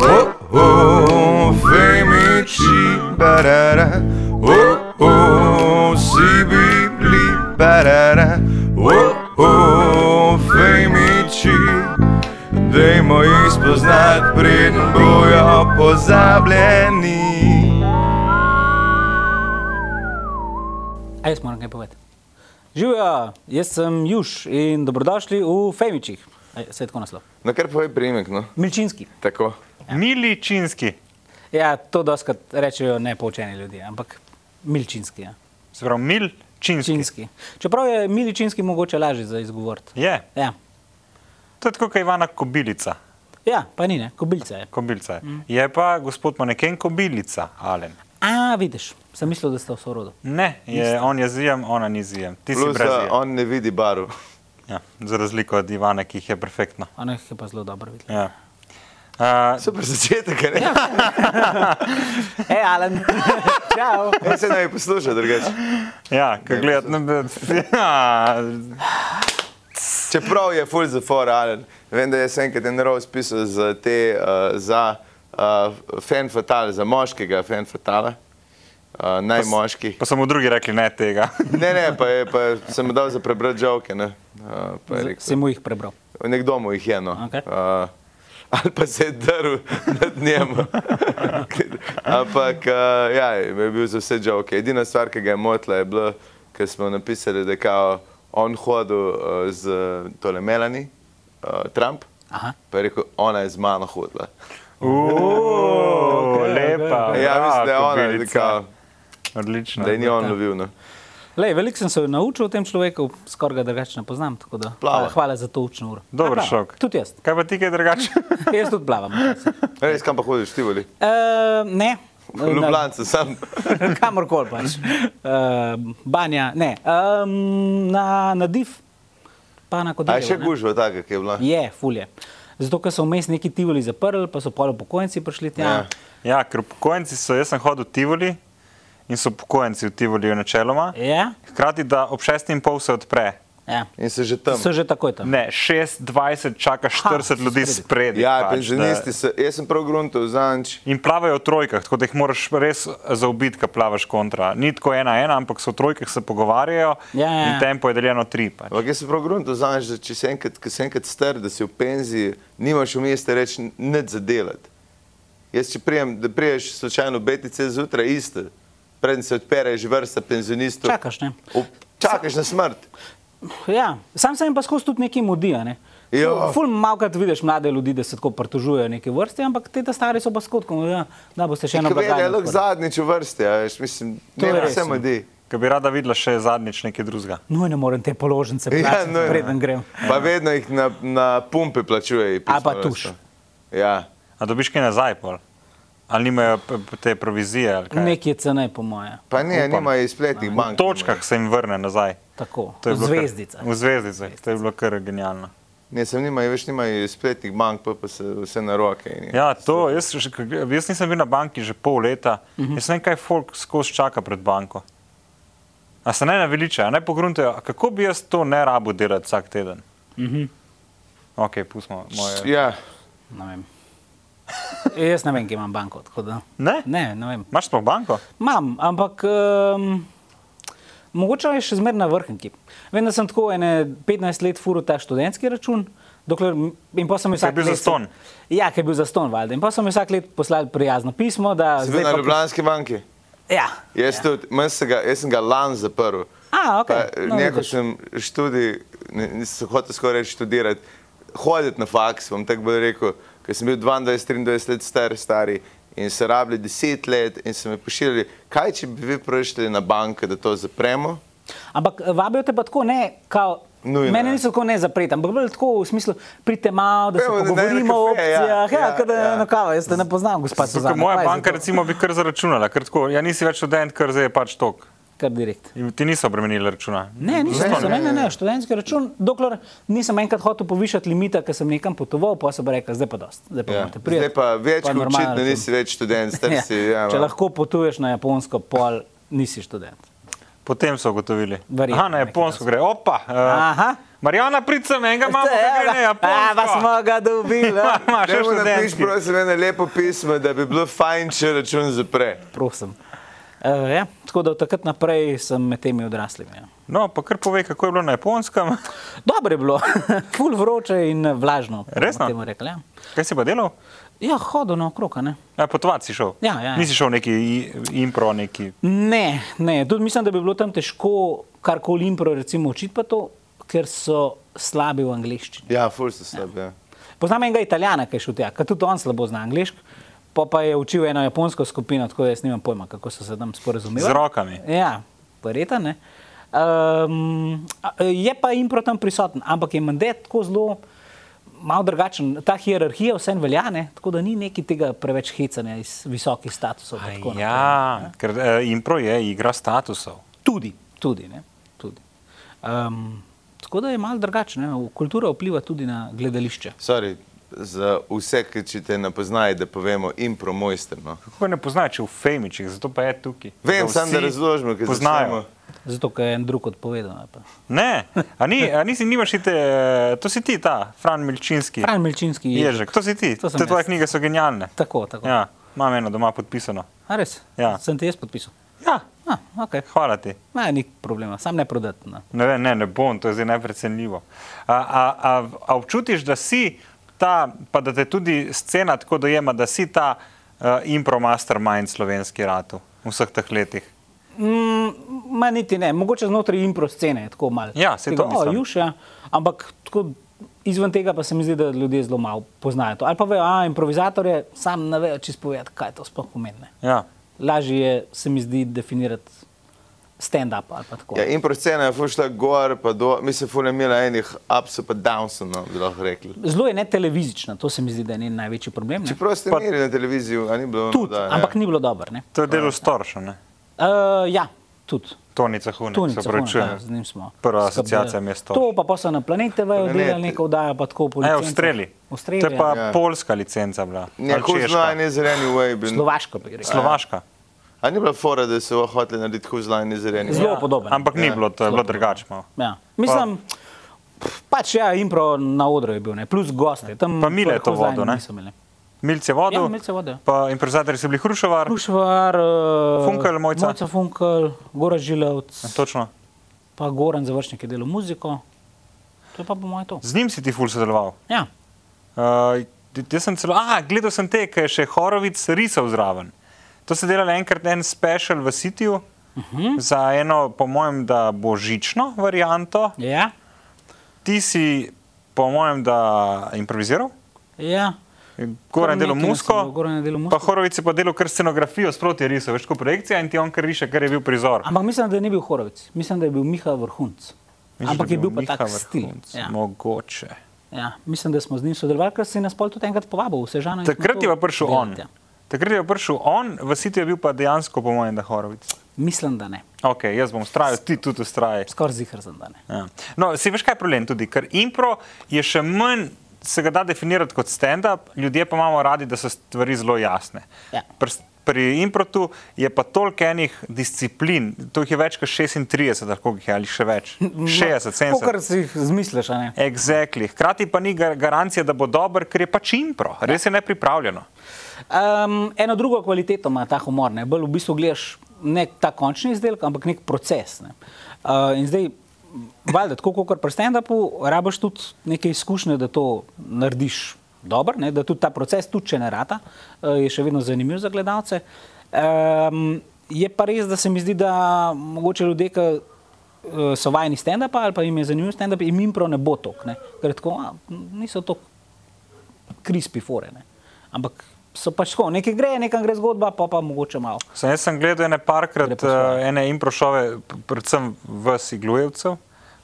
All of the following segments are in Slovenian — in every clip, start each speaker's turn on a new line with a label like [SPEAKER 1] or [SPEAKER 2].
[SPEAKER 1] Oh, barara. Oh, oh, sibi, bli, barara. Oh, oh, fejmiči. Dajmo jih spoznat, preden bojo pozabljeni.
[SPEAKER 2] A jaz moram kaj povedati. Živijo, jaz sem Juž in dobrodošli v Femičih. Ej, Se je tako naslov.
[SPEAKER 1] Na kar povej primek, no?
[SPEAKER 2] Milčinski.
[SPEAKER 1] Tako.
[SPEAKER 3] Ja. Miličinski.
[SPEAKER 2] Ja, to doskrat rečejo nepoučeni ljudje, ampak milčinski. Ja.
[SPEAKER 3] Se pravi, Milčinski.
[SPEAKER 2] Činski. Čeprav je miličinski mogoče lažje za izgovoriti.
[SPEAKER 3] Je.
[SPEAKER 2] Ja.
[SPEAKER 3] To je tako, kot Ivana Kobilica.
[SPEAKER 2] ja, pa ni, ne, kobilca je.
[SPEAKER 3] Kobilca je. Mm. je pa gospod Maneken Kobilica, Alen.
[SPEAKER 2] A, vidiš, sem mislil, da ste v sorodu.
[SPEAKER 3] Ne, je, on je zijem, ona ni zijem. Ti si
[SPEAKER 1] Plus, eh,
[SPEAKER 3] brez
[SPEAKER 1] da
[SPEAKER 3] zijem.
[SPEAKER 1] on ne vidi barv.
[SPEAKER 3] Ja, za razliko od Ivana, ki jih je perfektno.
[SPEAKER 2] Ona jih je pa zelo dobro videla.
[SPEAKER 3] Ja. Uh,
[SPEAKER 1] Super začetek, a ne?
[SPEAKER 2] Hej, Alan, čau.
[SPEAKER 1] Ja, se naj posluša drugače.
[SPEAKER 3] ja, kaj gledati, ne bi. Ja,
[SPEAKER 1] Čeprav je full za foralen, vem, da je sem enkrat en rov spisal za te, uh, za uh, fan fatal, za moškega fan fatala, uh, najmoški.
[SPEAKER 3] pa so mu drugi rekli ne tega.
[SPEAKER 1] Ne, ne, pa, je, pa sem mu dal za prebrat žoke, ne. Uh, pa je rekel,
[SPEAKER 2] Si mu jih prebral.
[SPEAKER 1] nekdo mu jih je, no.
[SPEAKER 2] Okej.
[SPEAKER 1] Uh, ali pa se je drl nad njem. Ampak, uh, ja, je bil za vse žoke. Edina stvar, ki ga je motila, je bila, ker smo napisali, da kao on hodil uh, z tole Melanie, uh, Trump.
[SPEAKER 2] Aha.
[SPEAKER 1] Pa je rekel, ona je z mano hodila.
[SPEAKER 3] Uuu, lepa.
[SPEAKER 1] Ja, mislim, da je ona, da,
[SPEAKER 3] Kobilica.
[SPEAKER 1] kao,
[SPEAKER 3] Odlično.
[SPEAKER 1] da je ni on lovil. No.
[SPEAKER 2] Lej, veliko sem se naučil o tem človeku, skoraj ga drugače ne poznam. tako da
[SPEAKER 1] Plava.
[SPEAKER 2] Hvala, hvala za to učno uro.
[SPEAKER 3] Dober
[SPEAKER 2] Ja, plava.
[SPEAKER 3] šok.
[SPEAKER 2] Tudi jaz.
[SPEAKER 3] Kaj pa ti kaj drugače?
[SPEAKER 2] Jaz tudi plavam.
[SPEAKER 1] Res, kam pa hodiš, ti voli?
[SPEAKER 2] Uh, ne.
[SPEAKER 1] Ljubljance, sam.
[SPEAKER 2] Kamorkoli pač. Uh, banja, ne. Um, na, na div, pa na
[SPEAKER 1] A
[SPEAKER 2] kodelj.
[SPEAKER 1] je še gužva taka, ki je bila?
[SPEAKER 2] Je, fulje. Zato, ker so vmes neki tivoli zaprli, pa so polo pokojnici prišli tja.
[SPEAKER 1] Ja.
[SPEAKER 3] Ja, ker upokojenci so, jaz sem hodil v Tivoli in so upokojenci v Tivoliju načeloma.
[SPEAKER 2] Ja,
[SPEAKER 3] Hkrati, da ob 6.30 se odpre.
[SPEAKER 2] ja.
[SPEAKER 1] In se že tam.
[SPEAKER 2] So že takoj tam.
[SPEAKER 3] Ne, 6.20 čaka 40
[SPEAKER 2] Ha,
[SPEAKER 3] ljudi
[SPEAKER 2] spredi.
[SPEAKER 3] spredi.
[SPEAKER 1] Ja,
[SPEAKER 3] pač,
[SPEAKER 1] penzionisti
[SPEAKER 3] da-
[SPEAKER 1] so. Jaz sem prav gruntal zanč.
[SPEAKER 3] In plavajo v trojkah, tako da jih moraš res zaobiti, ko plavaš kontra. Ni tako ena ena, ampak so v trojkah se pogovarjajo
[SPEAKER 2] Ja, ja, ja.
[SPEAKER 3] in tempo je deljeno tri. Pač.
[SPEAKER 1] Ampak jaz sem prav gruntal zanč, da če si enkrat, ko si enkrat star, da si v penziji, nimaš vmes te reči nič za delati. Jaz, če prijem, da priješ slučajno v BTC zjutraj isto, preden se odpere, je že vrsta penzionistov.
[SPEAKER 2] Čakaš, ne?
[SPEAKER 1] Ob- Čakaš na smrt.
[SPEAKER 2] Ja. Sam sem jim pa skozi tudi nekaj mudi. a Ne?
[SPEAKER 1] Ja.
[SPEAKER 2] Ful- Ful malkrat vidiš mlade ljudi, da se tako pritožujejo neke vrste, ampak te ta stari so pa skotkom, da, da boste še eno
[SPEAKER 1] Kvele je
[SPEAKER 2] blagajno.
[SPEAKER 1] lahko
[SPEAKER 2] odprli.
[SPEAKER 1] zadnjič v vrsti, a veš, mislim,
[SPEAKER 2] To je
[SPEAKER 1] ne
[SPEAKER 2] res,
[SPEAKER 1] vse
[SPEAKER 2] ja.
[SPEAKER 1] modi.
[SPEAKER 3] Ker bi rada videla še zadnjič nekaj drugega.
[SPEAKER 2] Nujno moram te položnice plačati, ja,
[SPEAKER 1] nujno.
[SPEAKER 2] preden grem.
[SPEAKER 1] no, Pa vedno jih na, na pumpe plačuje.
[SPEAKER 2] A pa
[SPEAKER 1] pismo,
[SPEAKER 2] tuš.
[SPEAKER 1] veste. Ja.
[SPEAKER 3] A dobiš kaj nazaj, pol? ali nimajo p- p- te provizije? ali kaj?
[SPEAKER 2] Nekje cene, po moje.
[SPEAKER 1] Pa ne,
[SPEAKER 3] Upam.
[SPEAKER 1] nimajo iz spletnih
[SPEAKER 3] V
[SPEAKER 1] bank.
[SPEAKER 3] točkah se jim vrne nazaj.
[SPEAKER 2] Tako,
[SPEAKER 3] To je bilo kar-
[SPEAKER 2] zvezdica.
[SPEAKER 3] V zvezdicah, to je bilo kar genialno.
[SPEAKER 1] Ne, sem nimajo, več nimajo iz spletnih bank, pa, pa se vse na roke. in je.
[SPEAKER 3] Ja, to, jaz, še ko gre- jaz nisem bil na banki že pol leta, uh
[SPEAKER 2] Mhm.
[SPEAKER 3] -huh. jaz ne vem, kaj folk skozi čaka pred banko. A se ne naveličajo, a ne pogruntajo, a kako bi jaz to ne rabo delati vsak teden? Uh
[SPEAKER 2] Mhm.
[SPEAKER 3] -huh. Ok, pustimo moje.
[SPEAKER 1] Ja,
[SPEAKER 2] Ne vem. Jaz ne vem, kje imam banko. tako Da.
[SPEAKER 3] Ne?
[SPEAKER 2] Ne, ne vem.
[SPEAKER 3] Imaš sploh banko?
[SPEAKER 2] Imam, ampak um, mogoče je še zmeraj na vrhunki. Vem, da sem tako ene 15 let furil ta študentski račun. Dokler, in pa sem jih
[SPEAKER 3] Ker je
[SPEAKER 2] vsak
[SPEAKER 3] bil
[SPEAKER 2] let-
[SPEAKER 3] zastonj.
[SPEAKER 2] Ja, ker je bil zaston, valjda. In pa so mi vsak let poslali prijazno pismo, da
[SPEAKER 1] sem bil
[SPEAKER 2] zdaj
[SPEAKER 1] na
[SPEAKER 2] pa-
[SPEAKER 1] Ljubljanski banki.
[SPEAKER 2] Ja.
[SPEAKER 1] Jaz, ja. tudi, manj se ga, jaz sem ga lani zaprl.
[SPEAKER 2] A, okej.
[SPEAKER 1] Pa,
[SPEAKER 2] No,
[SPEAKER 1] Neko
[SPEAKER 2] vidiš.
[SPEAKER 1] sem študij, ne- nisem hotel skoraj reči študirati, hoditi na faks, bom tako bolj rekel, ker sem bil 22-23 let star, stari in se rabili 10 let in so me pošiljali, kaj če bi vi prišli na banko, da to zapremo.
[SPEAKER 2] Ampak eh, vabijo te pa tako ne, kao,
[SPEAKER 1] Nujno,
[SPEAKER 2] mene
[SPEAKER 1] ja.
[SPEAKER 2] niso tako ne zapreti, ampak bolj tako v smislu, pridite malo, da se
[SPEAKER 1] Pejmo, da
[SPEAKER 2] pogovorimo o
[SPEAKER 1] najdemo kafe, ja,
[SPEAKER 2] opcijah. Ja,
[SPEAKER 1] ja,
[SPEAKER 2] ja, ja.
[SPEAKER 1] ja.
[SPEAKER 2] Na kava, jaz te ne poznam, gospod
[SPEAKER 3] Zato, ker
[SPEAKER 2] Suzana.
[SPEAKER 3] moja
[SPEAKER 2] hvala za
[SPEAKER 3] banka
[SPEAKER 2] to.
[SPEAKER 3] recimo, bi kar zaračunala, ker tako, ja nisi več študent, ker zdaj je pač tok.
[SPEAKER 2] Kar direkt.
[SPEAKER 3] In ti niso obremenili računa.
[SPEAKER 2] Ne, niso,
[SPEAKER 3] Zastonj.
[SPEAKER 2] niso, ne, ne, ne, študentski račun, dokler nisem enkrat hotel povišati limita, ker sem nekam potoval, pa so pa rekli, zdaj pa dost, zdaj pa
[SPEAKER 1] Ja.
[SPEAKER 2] morate priti.
[SPEAKER 1] Zdaj pa več kot
[SPEAKER 2] normalen
[SPEAKER 1] očitno
[SPEAKER 2] račun.
[SPEAKER 1] nisi več študent, star si. Ja,
[SPEAKER 2] Če
[SPEAKER 1] malo.
[SPEAKER 2] lahko potuješ na Japonsko, pol nisi študent.
[SPEAKER 3] Potem so ugotovili.
[SPEAKER 2] Verjetno,
[SPEAKER 3] Aha, na
[SPEAKER 2] nekaj
[SPEAKER 1] Ja.
[SPEAKER 3] japonsko gre. Opa, uh,
[SPEAKER 2] Aha,
[SPEAKER 3] Marjana, prid sem, enega Ja, imamo, ki gre na
[SPEAKER 2] A, pa
[SPEAKER 3] Japonsko.
[SPEAKER 2] smo ga dobili. a.
[SPEAKER 3] Ma, še
[SPEAKER 1] Če mu napiš,
[SPEAKER 3] študentki.
[SPEAKER 1] prosim, eno lepo pismo, da bi bilo fajn, če račun zapre.
[SPEAKER 2] Prosim. Uh, ja, tako da od takrat naprej sem med temi odraslimi. Ja.
[SPEAKER 3] No, pa kar pove, kako je bilo na japonskem.
[SPEAKER 2] Dobro je bilo, ful vroče in vlažno. bomo
[SPEAKER 3] Resno?
[SPEAKER 2] Temu rekli, ja.
[SPEAKER 3] Kaj si pa delal?
[SPEAKER 2] ja, hodil naokrog, a ne.
[SPEAKER 3] Ja, potovac si šel.
[SPEAKER 2] Ja, ja, ja.
[SPEAKER 3] Nisi šel neki i- impro, neki.
[SPEAKER 2] Ne, ne, tudi mislim, da bi bilo tam težko karkoli impro, recimo, učiti pa to, ker so slabi v angleščini.
[SPEAKER 1] Ja, ful se slab, ja.
[SPEAKER 2] Poznam enega italijana, ki je šel tja, ker tudi on slabo zna angliško. Pa, pa je učil eno japonsko skupino, tako da jaz nimam pojma, kako so se tam sporozumeli.
[SPEAKER 3] Z rokami.
[SPEAKER 2] Ja, verjeta ne. Um, je pa impro tam prisoten, ampak je mandat tako zelo malo drugačen. Ta hierarhija vsem velja, ne? tako da ni neki tega preveč hecanja iz visokih statusov. pa tako naprej.
[SPEAKER 3] Ja, ker eh, impro je igra statusov.
[SPEAKER 2] Tudi. tudi, ne, tudi. Um, tako da je malo drugačno. Kultura vpliva tudi na gledališče.
[SPEAKER 1] Sorry, za vse, ki če te ne poznajo, da povemo impro mojster. No.
[SPEAKER 3] Kako ne poznaš v Femičih, zato pa je tukaj.
[SPEAKER 1] Vem, samo da
[SPEAKER 3] vsi
[SPEAKER 1] razložimo, ker
[SPEAKER 3] Poznajo.
[SPEAKER 1] začnemo.
[SPEAKER 2] Zato, ker je en drug odpovedal. ali pa.
[SPEAKER 3] Ne, a, ni, a nisi, nimaš ite, to si ti, ta Fran Milčinski.
[SPEAKER 2] Fran Milčinski je
[SPEAKER 3] Ježek, to si ti,
[SPEAKER 2] To
[SPEAKER 3] to
[SPEAKER 2] sem
[SPEAKER 3] te tvoje
[SPEAKER 2] jaz.
[SPEAKER 3] knjige so genialne.
[SPEAKER 2] Tako, tako. Ja.
[SPEAKER 3] Ja, imam eno doma podpisano.
[SPEAKER 2] A res?
[SPEAKER 3] Ja.
[SPEAKER 2] Sem te jaz podpisal.
[SPEAKER 3] Ja,
[SPEAKER 2] Ah, okay.
[SPEAKER 3] hvala ti.
[SPEAKER 2] Ma, ja, ni problema, sam ne prodati. No.
[SPEAKER 3] Ne, vem, ne, ne bom, to je zdaj neprecenljivo. A, a, a, a občutiš, da si ta, pa da te tudi scena tako dojema, da si ta uh, impro mastermind slovenski ratu v vseh teh letih?
[SPEAKER 2] Mm, ma niti ne, mogoče znotraj impro scene je tako malo.
[SPEAKER 3] Ja, saj to
[SPEAKER 2] Tega, o,
[SPEAKER 3] mislim."
[SPEAKER 2] juš, ja. Ampak tako, izven tega pa se mi zdi, da ljudje zelo malo poznajo to. Ali pa vejo, a improvizatorje sam ne vejo čisto povedati, kaj to sploh pomeni. ne.
[SPEAKER 3] Ja.
[SPEAKER 2] Lažje je, se mi zdi, definirati stand-up ali pa tako.
[SPEAKER 1] Ja, impro scena je ful šla gor, pa do, mi se ful je imela enih upsov pa downsov, no, bi lahko rekli.
[SPEAKER 2] Zelo je ne televizična, to se mi zdi, da je njen največji problem. ne.
[SPEAKER 1] Čeprav ste
[SPEAKER 3] Pa-
[SPEAKER 1] imeli na televiziji, a ni bilo.
[SPEAKER 2] Tudi,
[SPEAKER 3] ja.
[SPEAKER 1] da,
[SPEAKER 2] ampak ni bilo dobro. ne.
[SPEAKER 3] To je delo Storša, ne?
[SPEAKER 2] Uh, ja, tudi.
[SPEAKER 3] Tonica Hunek,
[SPEAKER 2] Tunica,
[SPEAKER 3] se pravičujem.
[SPEAKER 2] Hunek, ja, z njim smo.
[SPEAKER 3] Prva
[SPEAKER 2] skrbeli.
[SPEAKER 3] asociacija mi je s to.
[SPEAKER 2] To pa pa so na planete vejo
[SPEAKER 1] Planete.
[SPEAKER 2] delali neko vdajo, pa tako
[SPEAKER 3] Ne,
[SPEAKER 2] policija.
[SPEAKER 3] ja, v streli.
[SPEAKER 2] V
[SPEAKER 3] To
[SPEAKER 2] streli.
[SPEAKER 3] je pa
[SPEAKER 2] Ja.
[SPEAKER 1] Ja.
[SPEAKER 3] polska licenca bila. ali
[SPEAKER 1] Nekako
[SPEAKER 3] češka.
[SPEAKER 1] zelo nezreni way. Bil.
[SPEAKER 2] ja. Slovaško bi rekel.
[SPEAKER 3] Slovaška.
[SPEAKER 1] A ni bila fora, da so hoteli narediti tako zelo nezreni?
[SPEAKER 2] Zelo podoben.
[SPEAKER 3] Ampak ni
[SPEAKER 1] Ja.
[SPEAKER 3] bilo, to je bilo drugače. malo.
[SPEAKER 2] Ja. Mislim, pf, pač ja, impro na odru je bil, ne? plus gosti. Tam
[SPEAKER 3] Pa Mile je to
[SPEAKER 2] Kolhozajne
[SPEAKER 3] vodil, ne?
[SPEAKER 2] niso imeli.
[SPEAKER 3] Milce vodo,
[SPEAKER 2] Ja, Milce vodo, ja.
[SPEAKER 3] pa improvizatorji so bili Hrušovar.
[SPEAKER 2] Krušvar,
[SPEAKER 3] Funkelj, Mojca.
[SPEAKER 2] eh, Mojca Funkel, Gora Žilovc,
[SPEAKER 3] Ja, Točno.
[SPEAKER 2] pa Goran Završnik je delal muziko. To je pa po mojem to.
[SPEAKER 3] Z njim si ti ful sodeloval.
[SPEAKER 2] Ja.
[SPEAKER 3] Uh, jaz sem celo, ah, gledal sem te, ki je še Horovic risal zraven. To se delalo enkrat en special v Sitiju uh -huh.
[SPEAKER 2] Mhm.
[SPEAKER 3] za eno, po mojem, da božično varianto.
[SPEAKER 2] Ja.
[SPEAKER 3] Ti si, po mojem, da improviziral.
[SPEAKER 2] ja.
[SPEAKER 3] Goran
[SPEAKER 2] Kar
[SPEAKER 3] delo
[SPEAKER 2] nekaj nas je bilo,
[SPEAKER 3] musko,
[SPEAKER 2] Goran je delal
[SPEAKER 3] pa
[SPEAKER 2] muziko.
[SPEAKER 3] Horovic je pa delo kar scenografijo sproti risal, veš, kot projekcija in ti on kar riše, kar je bil prizor.
[SPEAKER 2] Ampak mislim, da ni bil Horovic, mislim, da je bil Miha Vrhunc.
[SPEAKER 3] Misliš,
[SPEAKER 2] Ampak
[SPEAKER 3] da
[SPEAKER 2] je bil pa
[SPEAKER 3] Miha
[SPEAKER 2] tak
[SPEAKER 3] Vrhunc? no.
[SPEAKER 2] stil. Ja.
[SPEAKER 3] Mogoče.
[SPEAKER 2] Ja. Mislim, da smo z njim sodelovali, ker si nas pol tudi enkrat povabil, vse žano.
[SPEAKER 3] Takrat je pa prišel on.
[SPEAKER 2] ja.
[SPEAKER 3] Takrat je pa prišel on, v Sitiju je bil pa dejansko, po mojem, da Horovic.
[SPEAKER 2] Mislim, da ne.
[SPEAKER 3] Ok, jaz bom ustrajal, ti tudi ustrajaj.
[SPEAKER 2] Skoraj zihar sem, da ne.
[SPEAKER 3] Ja. No, si veš, kaj je problem tudi, ker impro je še manj. Se ga da definirati kot stand-up, ljudje pa imamo radi, da so stvari zelo jasne.
[SPEAKER 2] Ja.
[SPEAKER 3] Pri, s- pri improtu je pa toliko enih disciplin, to jih je več kot 36, lahko jih je ali še več. 60, 70.
[SPEAKER 2] Kot si jih zmisliš, a ne.
[SPEAKER 3] Exactly. Hkrati pa ni gar- garancije, da bo dober, ker je pač impro, res je nepripravljeno.
[SPEAKER 2] Um, eno drugo kvaliteto ima ta humor. Ne? Bolj v bistvu gledaš ne ta končni izdelek, ampak nek proces. Ne? Uh, in zdaj, valjda, tako kot pri stand-upu, rabiš tudi neke izkušnje, da to narediš dobro, ne? da tudi ta proces, tudi če ne rata, uh, je še vedno zanimiv za gledalce. Um, je pa res, da se mi zdi, da mogoče ljudje, ki eh, so vajeni stand-upa ali pa jim je zanimiv stand-up, jim impro ne bo tok, ne? ker je tako, a, niso tako krispi fore. Ne? Ampak so pač tako, nekaj gre, nekam gre zgodba, pa pa mogoče malo.
[SPEAKER 3] Sem, jaz sem gledal ene parkrat,
[SPEAKER 2] Gre po svoje.
[SPEAKER 3] eh, ene improšove, p- predvsem v Siglujevcu.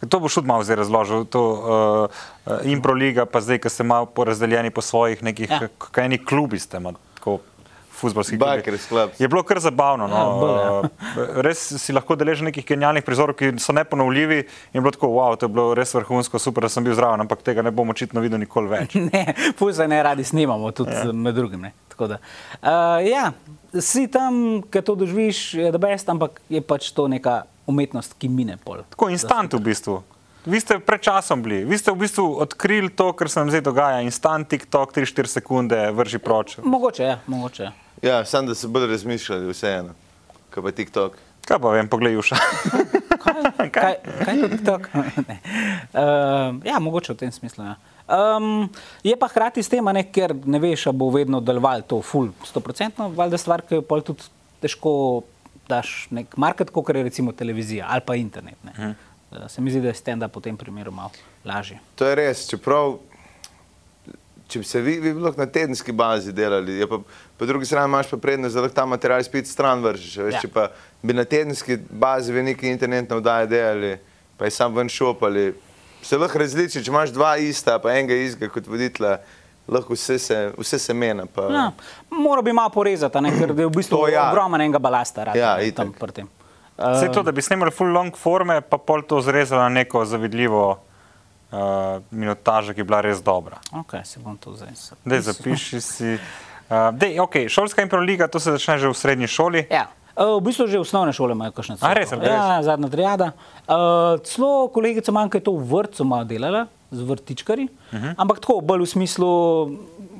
[SPEAKER 3] To boš tudi malo zdaj razložil, to uh, uh, impro liga, pa zdaj, ki ste malo porazdeljeni po svojih nekih,
[SPEAKER 2] Ja.
[SPEAKER 3] ja. kaj eni klubi ste, ima, tako futbalski
[SPEAKER 1] Bikers clubs.
[SPEAKER 3] Je bilo kar zabavno. No,
[SPEAKER 2] Ja, bolj, ja.
[SPEAKER 3] eh, Res si lahko deležen nekih genialnih prizorov, ki so neponovljivi in je bilo tako, wow, to je bilo res vrhunsko, super, da sem bil zraven, ampak tega ne bom očitno videl nikoli več.
[SPEAKER 2] Ne, puze ne radi snimamo, tudi ja. med drugim. ne. Tako Da, uh, ja, si tam, ki to doživiš, je da best, ampak je pač to neka umetnost, ki mine pol.
[SPEAKER 3] Tako instant v bistvu. vi ste pred časom bili, vi ste v bistvu odkrili to, kar se nam zdaj dogaja. Instant TikTok 3-4 sekunde vrži proč.
[SPEAKER 2] Mogoče je, mogoče je.
[SPEAKER 1] Ja, sam da se bodo razmišljali vseeno, kaj pa TikTok.
[SPEAKER 3] Kaj pa vem, poglej, uša.
[SPEAKER 2] Kaj, kaj, kaj je TikTok? Ne. um, ja, mogoče v tem smislu. Ja. Um, je pa hkrati s tem, a ne, ker ne veš, ali bo vedno deloval to full 100%, valjda stvar, ki jo pol tudi težko daš nek market, kot je recimo televizija ali pa internet. Ne.
[SPEAKER 1] Mhm.
[SPEAKER 2] Uh, se mi zdi, da je stand-up v tem primeru malo lažje.
[SPEAKER 1] To je res, čeprav če bi se vi, vi bi lahko na tedenski bazi delali, je pa, po drugi strani imaš pa prednost, da lahko ta material spet stran vržeš. a Veš,
[SPEAKER 2] Ja.
[SPEAKER 1] ja. Če pa bi na tedenski bazi vi neki internetno vdaje delali, pa je sam ven šopali, se lahko različi, če imaš dva ista, pa enega istega kot voditelja, lahko vse se, vse se mena. Pa,
[SPEAKER 2] Ja, mora bi malo porezati, a ne, ker je v bistvu
[SPEAKER 1] To ja.
[SPEAKER 2] ja. ogromen enega balasta. Rad,
[SPEAKER 1] Ja,
[SPEAKER 2] ne,
[SPEAKER 1] itak.
[SPEAKER 2] tam, pri tem.
[SPEAKER 3] Vse to, da bi snimali full long forme, pa pol to zrezali na neko zavidljivo uh, minutažo, ki je bila res dobra.
[SPEAKER 2] Okay, si bom to zdaj zapisal.
[SPEAKER 3] Dej, zapiši si. Uh, dej, okay, šolska improliga, to se začne že v srednji šoli.
[SPEAKER 2] Ja. Uh, V bistvu že osnovne šole imajo kakšne
[SPEAKER 3] A, res, ali
[SPEAKER 2] Ja, zadnja triada. Uh, celo kolegica manj, ki je to v vrtu malo delala, z vrtičkari, uh
[SPEAKER 3] Mhm.
[SPEAKER 2] -huh. ampak tako bolj v smislu,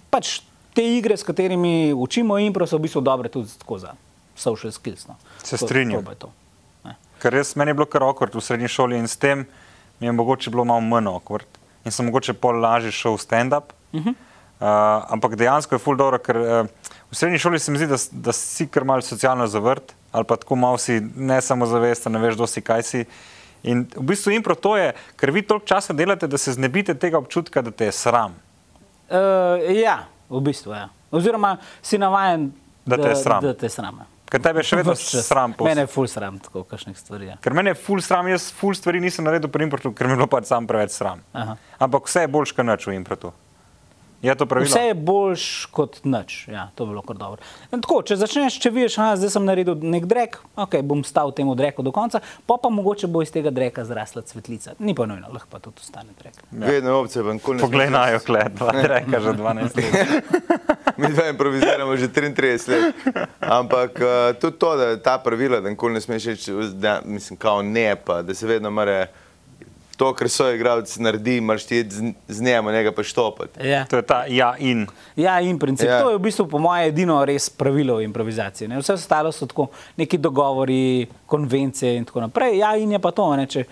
[SPEAKER 2] pač te igre, s katerimi učimo in prav so v bistvu dobre tudi tako za social skills. No.
[SPEAKER 3] Se
[SPEAKER 2] To-
[SPEAKER 3] strinjam.
[SPEAKER 2] to bo to. Ne.
[SPEAKER 3] Ker res meni je bilo kar okvart v srednji šoli in s tem mi je mogoče bilo malo manj okvart in sem mogoče pol lažje šel v stand-up. Uh
[SPEAKER 2] Mhm.
[SPEAKER 3] -huh. uh, ampak dejansko je ful dobro, ker uh, v srednji šoli se mi zdi, da, s- da si kar malce socialno zavrt ali pa tako malo si ne samo zavesten, ne veš, kdo si, kaj si. In v bistvu impro to je, ker vi toliko časa delate, da se znebite tega občutka, da te je sram.
[SPEAKER 2] Uh, ja, v bistvu. Ja. Oziroma si navaden,
[SPEAKER 3] Da te je sram.
[SPEAKER 2] Da te je sram. ja.
[SPEAKER 3] Ker tebe je še vedno
[SPEAKER 2] Ves čas.
[SPEAKER 3] sram. po vsem.
[SPEAKER 2] Mene je ful sram, tako kakšnih stvari. Ja.
[SPEAKER 3] Ker meni je ful sram, jaz ful stvari nisem naredil pri improtu, ker mi je bilo pač sam preveč sram.
[SPEAKER 2] Aha.
[SPEAKER 3] Ampak vse je boljš, kot nič v improtu. Je to pravilno?
[SPEAKER 2] Vse je boljš kot nič. Ja, to je bilo kar dobro. In Tako, če začneš, če vidiš, da zdaj sem naredil nek drek, okay, bom stal temu dreku do konca, pa pa mogoče bo iz tega dreka zrasla cvetlica. Ni pa nujno, lahko pa tudi ostane drek.
[SPEAKER 1] Ja. Vedno je opcija, ven kul.
[SPEAKER 3] Poglej na jo, kled, dva reka že 12 let.
[SPEAKER 1] Mi dva improviziramo že 33 let. Ampak uh, tudi to, da ta pravila, da nikoli ne smeš reči, da, mislim, kao ne, pa da se vedno mora to, kar so igralci naredi, moraš ti iti z, z njim, njega pa štopati.
[SPEAKER 2] Ja.
[SPEAKER 3] To je ta ja in.
[SPEAKER 2] ja, in princip. Ja.
[SPEAKER 1] Ja.
[SPEAKER 2] To je v bistvu, po mojem, edino res pravilo improvizacije. Ne? Vse ostalo so tako neki dogovori, konvencije in tako naprej. Ja, in je pa to. Ne? Če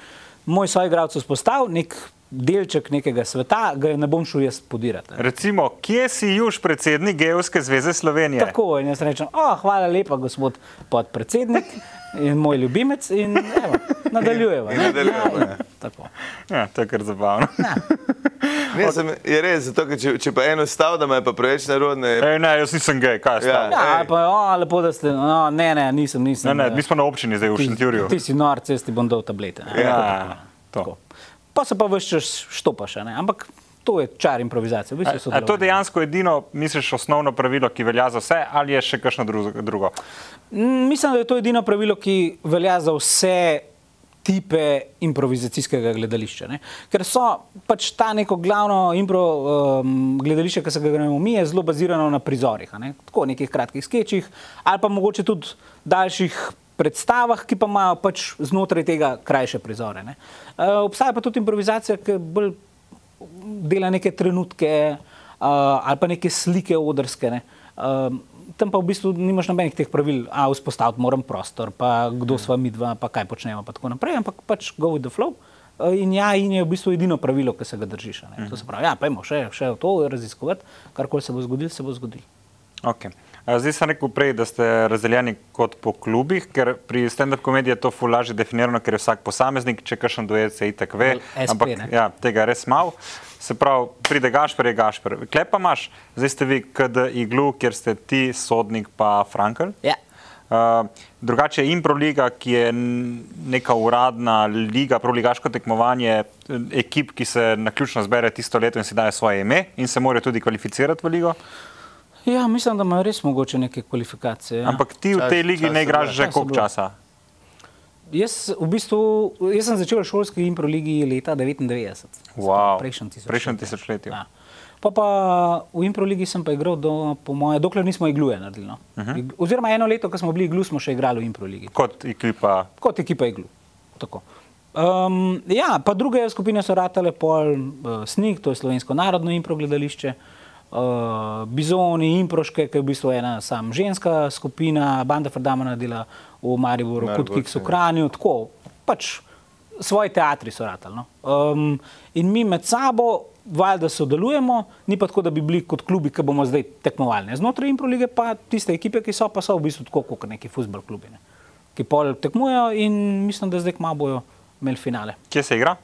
[SPEAKER 2] moj soigralec vzpostavi nek delček nekega sveta, ga ne bom šel jaz podirati. a ne.
[SPEAKER 3] Recimo, kje si juž predsednik Gejovske zveze Slovenije?
[SPEAKER 2] Tako in jaz rečem, oh, hvala lepa, gospod podpredsednik in moj ljubimec. In, evo, nadaljujeva.
[SPEAKER 1] In
[SPEAKER 2] ne.
[SPEAKER 1] nadaljujeva,
[SPEAKER 2] Ja,
[SPEAKER 1] ja.
[SPEAKER 2] tako.
[SPEAKER 3] Ja, to je kar zabavno.
[SPEAKER 1] Ne, sem, je res, zato, ker če, če pa eno stav, da me je pa preveč narodno, je
[SPEAKER 3] Ej, ne, jaz nisem gej, kaj ste?
[SPEAKER 1] Ja.
[SPEAKER 3] Ja.
[SPEAKER 2] Ja, ali
[SPEAKER 1] Ej.
[SPEAKER 2] pa, o, lepo, da ste. No, ne, ne, nisem. nisem
[SPEAKER 3] Ne, ne,
[SPEAKER 2] eh,
[SPEAKER 3] mi smo na občini zdaj v Šentjurju.
[SPEAKER 2] Ti, ti si nor, cesti bom dal tablete. ne.
[SPEAKER 3] Ja, to.
[SPEAKER 2] Tako. Pa se pa veš, če štopaš, a ne? ampak to je čar improvizacije. V bistvu
[SPEAKER 3] A, a to je
[SPEAKER 2] sodelovanje.
[SPEAKER 3] dejansko edino, misliš, osnovno pravilo, ki velja za vse, ali je še kakšno dru- drugo?
[SPEAKER 2] Mm, Mislim, da je to edino pravilo, ki velja za vse tipe improvizacijskega gledališča. Ne? Ker so pač ta neko glavno impro, um, gledališče, ki se ga gremo mi, je zelo bazirano na prizorih, a ne? tako nekih kratkih sketchih ali pa mogoče tudi daljših predstavah, ki pa imajo pač znotraj tega krajše prizore. ne. Uh, obstaja pa tudi improvizacija, ki bolj dela neke trenutke uh, ali pa neke slike odrske. Ne. Um, tam pa v bistvu nimaš nobenih teh pravil, a vzpostaviti moram prostor, pa kdo sva mi dva, pa kaj počnemo, pa tako naprej, ampak pač go with the flow. Uh, In ja, in je v bistvu edino pravilo, ki se ga držiš. a ne. To se pravi, ja, pojmo še, še to raziskovati, karkoli se bo zgodilo, se bo zgodilo.
[SPEAKER 3] Okay. Zdaj sem rekel prej, da ste razdeljeni kot po klubih, ker pri stand-up komediji je to fulaže definirano, ker je vsak posameznik, če kakšen duet se itak ve,
[SPEAKER 2] Bolj SP, ne?
[SPEAKER 3] ja, tega je res malo. Se pravi, pride Gašper, je Gašper. Klej pa imaš, zdaj ste vi KD iglu, kjer ste ti, sodnik pa Frankl.
[SPEAKER 2] Ja.
[SPEAKER 3] Uh, drugače je Improliga, ki je n- neka uradna liga, proligaško tekmovanje eh, ekip, ki se na ključno zbere tisto leto in si daje svoje ime in se morajo tudi kvalificirati v ligo.
[SPEAKER 2] ja, mislim, da imajo res mogoče neke kvalifikacije. Ja.
[SPEAKER 3] Ampak ti v tej
[SPEAKER 1] Čas-
[SPEAKER 3] ligi
[SPEAKER 1] čas
[SPEAKER 3] ne
[SPEAKER 1] je
[SPEAKER 3] igraš
[SPEAKER 1] bilo.
[SPEAKER 3] že
[SPEAKER 2] Čas je
[SPEAKER 3] koliko
[SPEAKER 2] bilo.
[SPEAKER 3] časa?
[SPEAKER 2] Jaz, v bistvu, jaz sem začel v šolski improligi leta 99.
[SPEAKER 3] Wow.
[SPEAKER 2] Prejšnji tisočletju.
[SPEAKER 3] Prejšnjem tisočletju.
[SPEAKER 2] Ja. Pa, pa v improligi sem pa igral, do, po moje, dokler nismo igluje naredili. No. Uh -huh. Oziroma eno leto, ko smo bili iglu, smo še igrali v improligi.
[SPEAKER 3] Kot ekipa.
[SPEAKER 2] Kot ekipa iglu. Tako. Um, ja, pa druge skupine so ratale pol uh, Snik, to je slovensko narodno impro gledališče, uh, Bizoni, Improške, ki je v bistvu ena sam ženska skupina, Banda Ferdamana dela v Mariboru,
[SPEAKER 1] Maribor,
[SPEAKER 2] Kutki so
[SPEAKER 1] ja.
[SPEAKER 2] Kranju, tako pač svoji teatri so ratali. No. Um, in mi med sabo valjda sodelujemo, ni pa tako, da bi bili kot klubi, ki bomo zdaj tekmovali. Ne. Znotraj improlige pa tiste ekipe, ki so, pa so v bistvu tako kot neki futbol klubi, ne. ki pol tekmujejo in mislim, da zdaj kmalo bojo imeli finale.
[SPEAKER 3] Kje se igra?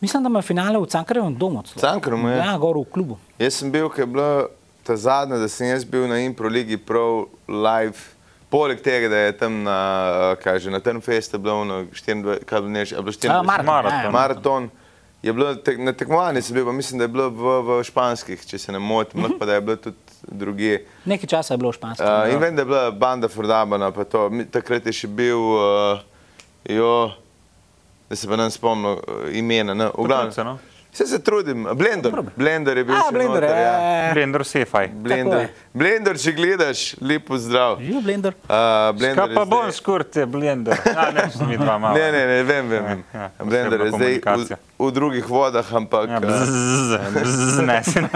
[SPEAKER 2] Mislim, da imajo finale v Cankarjevem domu. celo.
[SPEAKER 1] V Cankarjevem, ja.
[SPEAKER 2] Ja, gor v klubu.
[SPEAKER 1] Jaz sem bil, ki je bila ta zadnja, da sem jaz bil na Impro Ligi prav live. Poleg tega, da je tam na, eh, kaj že, na Turnfestu bilo ono 24, kaj je bilo, ne, že- a je bilo 24
[SPEAKER 2] maraton,
[SPEAKER 3] Maraton.
[SPEAKER 2] ja,
[SPEAKER 1] maraton. Je bilo tek, na tekmovanju, sem bil, pa mislim, da je bilo v, v španskih, če se ne motim, lahko pa da je bilo tudi drugje.
[SPEAKER 2] Nekaj časa je bilo v ja. Španiji.
[SPEAKER 1] Uh, in vem, da je bila banda Fordabana, pa to. Mi- Takrat je še bil, uh, jo, da se pa nam spomnim uh, imena. No, v glavnem.
[SPEAKER 3] se, no.
[SPEAKER 1] Vse se trudim, Blender.
[SPEAKER 2] Probaj.
[SPEAKER 1] Blender je bil
[SPEAKER 2] A,
[SPEAKER 1] še
[SPEAKER 2] Blender,
[SPEAKER 1] noter, ja.
[SPEAKER 2] ja.
[SPEAKER 3] Blender, sefaj.
[SPEAKER 1] Blender.
[SPEAKER 2] Tako
[SPEAKER 1] Blender, če gledaš, lepo zdrav. Uh,
[SPEAKER 2] Živijo blender.
[SPEAKER 1] Blender
[SPEAKER 3] Kaj
[SPEAKER 1] je
[SPEAKER 3] pa
[SPEAKER 1] zdaj-
[SPEAKER 3] bom skurt, je blender. Ja, ne, mi dva malo.
[SPEAKER 1] Ne, ne, ne, vem, vem. vem.
[SPEAKER 3] Ja, ja,
[SPEAKER 1] Blender je
[SPEAKER 3] osebna
[SPEAKER 1] zdaj v,
[SPEAKER 3] komunikacija.
[SPEAKER 1] v drugih vodah, ampak...
[SPEAKER 3] Ja,
[SPEAKER 1] eh,
[SPEAKER 3] bzzz, bzzz, ne, se ne.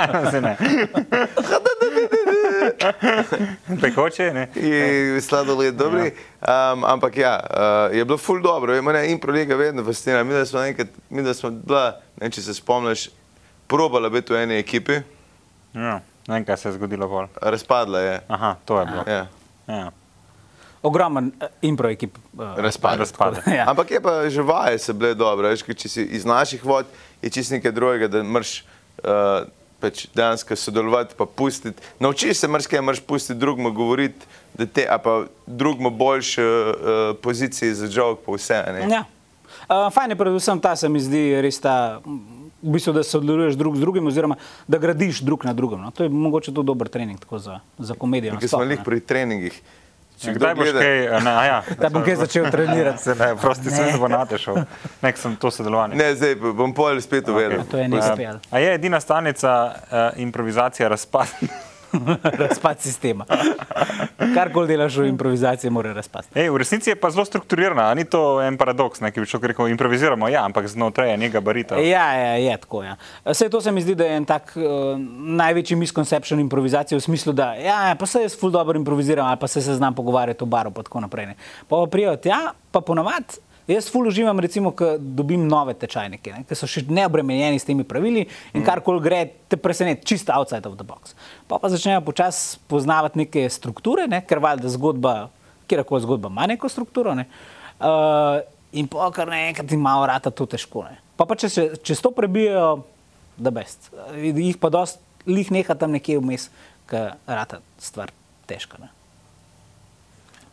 [SPEAKER 3] Se ne. Pekoče, ne.
[SPEAKER 1] In sladoled dobri. Um, ampak ja, uh, je bilo ful dobro. Vemo, ne, in prolega vedno fascinira. Mi da smo enkrat, mi da smo bila, ne, vem, če se spomniš, probala biti v eni ekipi,
[SPEAKER 3] Ja, ne vem, kaj se je zgodilo bolj.
[SPEAKER 1] razpadla je.
[SPEAKER 3] Aha, to je bilo.
[SPEAKER 1] Ja.
[SPEAKER 3] Ja.
[SPEAKER 2] Ogromen eh, impro ekip. eh,
[SPEAKER 1] Razpade.
[SPEAKER 3] Razpade.
[SPEAKER 2] Ja.
[SPEAKER 1] Ampak je pa že vaje so bile dobre, veš, ker če si iz naših vod, je čist nekaj drugega, da mrš uh, pač dejansko sodelovati, pa pustiti. Naučiš se mrske, mrš pustiti drugmu govoriti, da te, a pa drugmu boljši uh, poziciji za žog, pa vse. a Ne?
[SPEAKER 2] Ja. Uh, fajn je predvsem ta, se mi zdi, res ta, m, v bistvu, da sodeluješ drug z drugim, oziroma da gradiš drug na drugem. No. To je mogoče tudi dober trening tako za, za komedijo.
[SPEAKER 1] Ker smo
[SPEAKER 2] nasploh,
[SPEAKER 1] lih
[SPEAKER 2] ne.
[SPEAKER 1] pri treningih. Če kdo
[SPEAKER 3] Ja, Kdaj boš
[SPEAKER 1] gleda-
[SPEAKER 3] kaj? Ne, a ja.
[SPEAKER 2] Da bom kaj začel trenirati.
[SPEAKER 3] Se ne, prosti
[SPEAKER 2] Ne.
[SPEAKER 3] sem se bo natešel. Nek sem to sodelovanje.
[SPEAKER 1] Ne, zdaj pa bom pol spet
[SPEAKER 2] Ja,
[SPEAKER 1] uvedel.
[SPEAKER 2] To je nekaj spijal.
[SPEAKER 3] A je edina stanica uh, improvizacija razpad?
[SPEAKER 2] no. Razpad sistema. Karkoli delaš v improvizaciji, mora razpasti.
[SPEAKER 3] Ej, v resnici je pa zelo strukturirana, a ni to en paradoks, ne, ki bi človek rekel, improviziramo, ja, ampak znotraj enega barita.
[SPEAKER 2] Ja, ja, je tako. Ja. Vse to se mi zdi, da je en tak uh, največji misconception improvizacije v smislu, da ja, ja, pa se jaz ful dobro improviziram ali pa se, se znam pogovarjati o baru in tako naprej. Ne. Pa pa prijo tja, pa ponavadi. Jaz ful uživam, recimo, ko dobim nove tečajnike, ne, ki so še neobremenjeni s temi pravili in kar koli gre, te preseneti, čisto outside of the box. Pa pa začnejo počasi poznavati neke strukture, ne, ker valjda zgodba kjerkoli zgodba ima neko strukturo. Ne? Uh, in pa kar naenkrat ima vrata to težko. Ne? Pa, pa če se čez to prebijajo, da best. Eh, Jih pa dost, lih neha tam nekje vmes, ker rata stvar težka. Ne?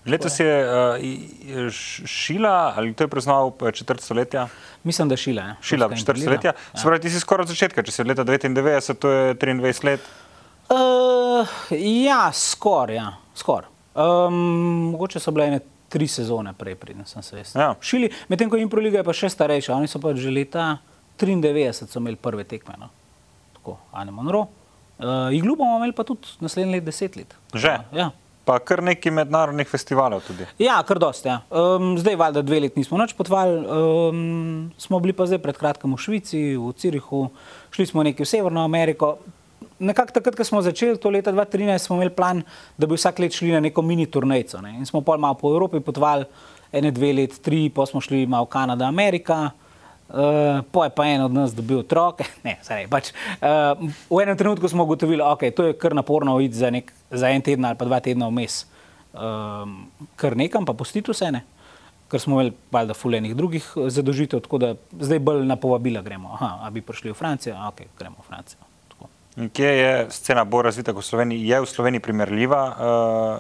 [SPEAKER 3] Letos je uh, i- š- Šila, ali to je praznoval eh, četrt stoletja?
[SPEAKER 2] Mislim, da šila. Ne?
[SPEAKER 3] Šila,
[SPEAKER 2] Ruska Ja.
[SPEAKER 3] četrt
[SPEAKER 2] imperializem.
[SPEAKER 3] stoletja. Spravi, ti si skoraj od začetka, če si od leta 99, to je 23 let.
[SPEAKER 2] Uh, ja, skoraj. Ja, skor. um, mogoče so bile ene tri sezone prej, preden sem se jaz.
[SPEAKER 3] Ja.
[SPEAKER 2] Šili, medtem ko je Improliga je pa še starejša, oni so pa že leta 93 so imeli prve tekme. No. Tako, Anne Monroe. Uh, Iglu bomo imeli pa tudi naslednje leto 10 let.
[SPEAKER 3] Že?
[SPEAKER 2] Ja.
[SPEAKER 3] Pa kar nekaj mednarodnih festivalov tudi.
[SPEAKER 2] Ja, kar dosti. Ja. Um, zdaj, valjda, dve leti nismo več potovali, um, smo bili pa zdaj pred kratkim v Švici, v Cirihu, šli smo nekaj v Severno Ameriko. Nekako takrat, ko smo začeli to leta 2013, smo imeli plan, da bi vsak let šli na neko mini turnejco. Ne? In smo pol malo po Evropi potovali, ene, dve leti, tri, pa smo šli malo v Kanada, Amerika. Uh, po je pa en od nas dobil otroke. Ne, sorry, pač, uh, v enem trenutku smo ugotovili, da okay, to je kar naporno iti za, nek, za en teden ali pa dva tedna vmes, um, kar nekam, pa postiti vse ne. Ker smo imeli valjda fulejnih drugih eh, zadolžitev, tako da zdaj bolj na povabila gremo. Aha, a bi prišli v Francijo, a ok, gremo v Francijo. Tako.
[SPEAKER 3] In kje je scena bolj razvita kot v Sloveniji? Je v Sloveniji primerljiva uh,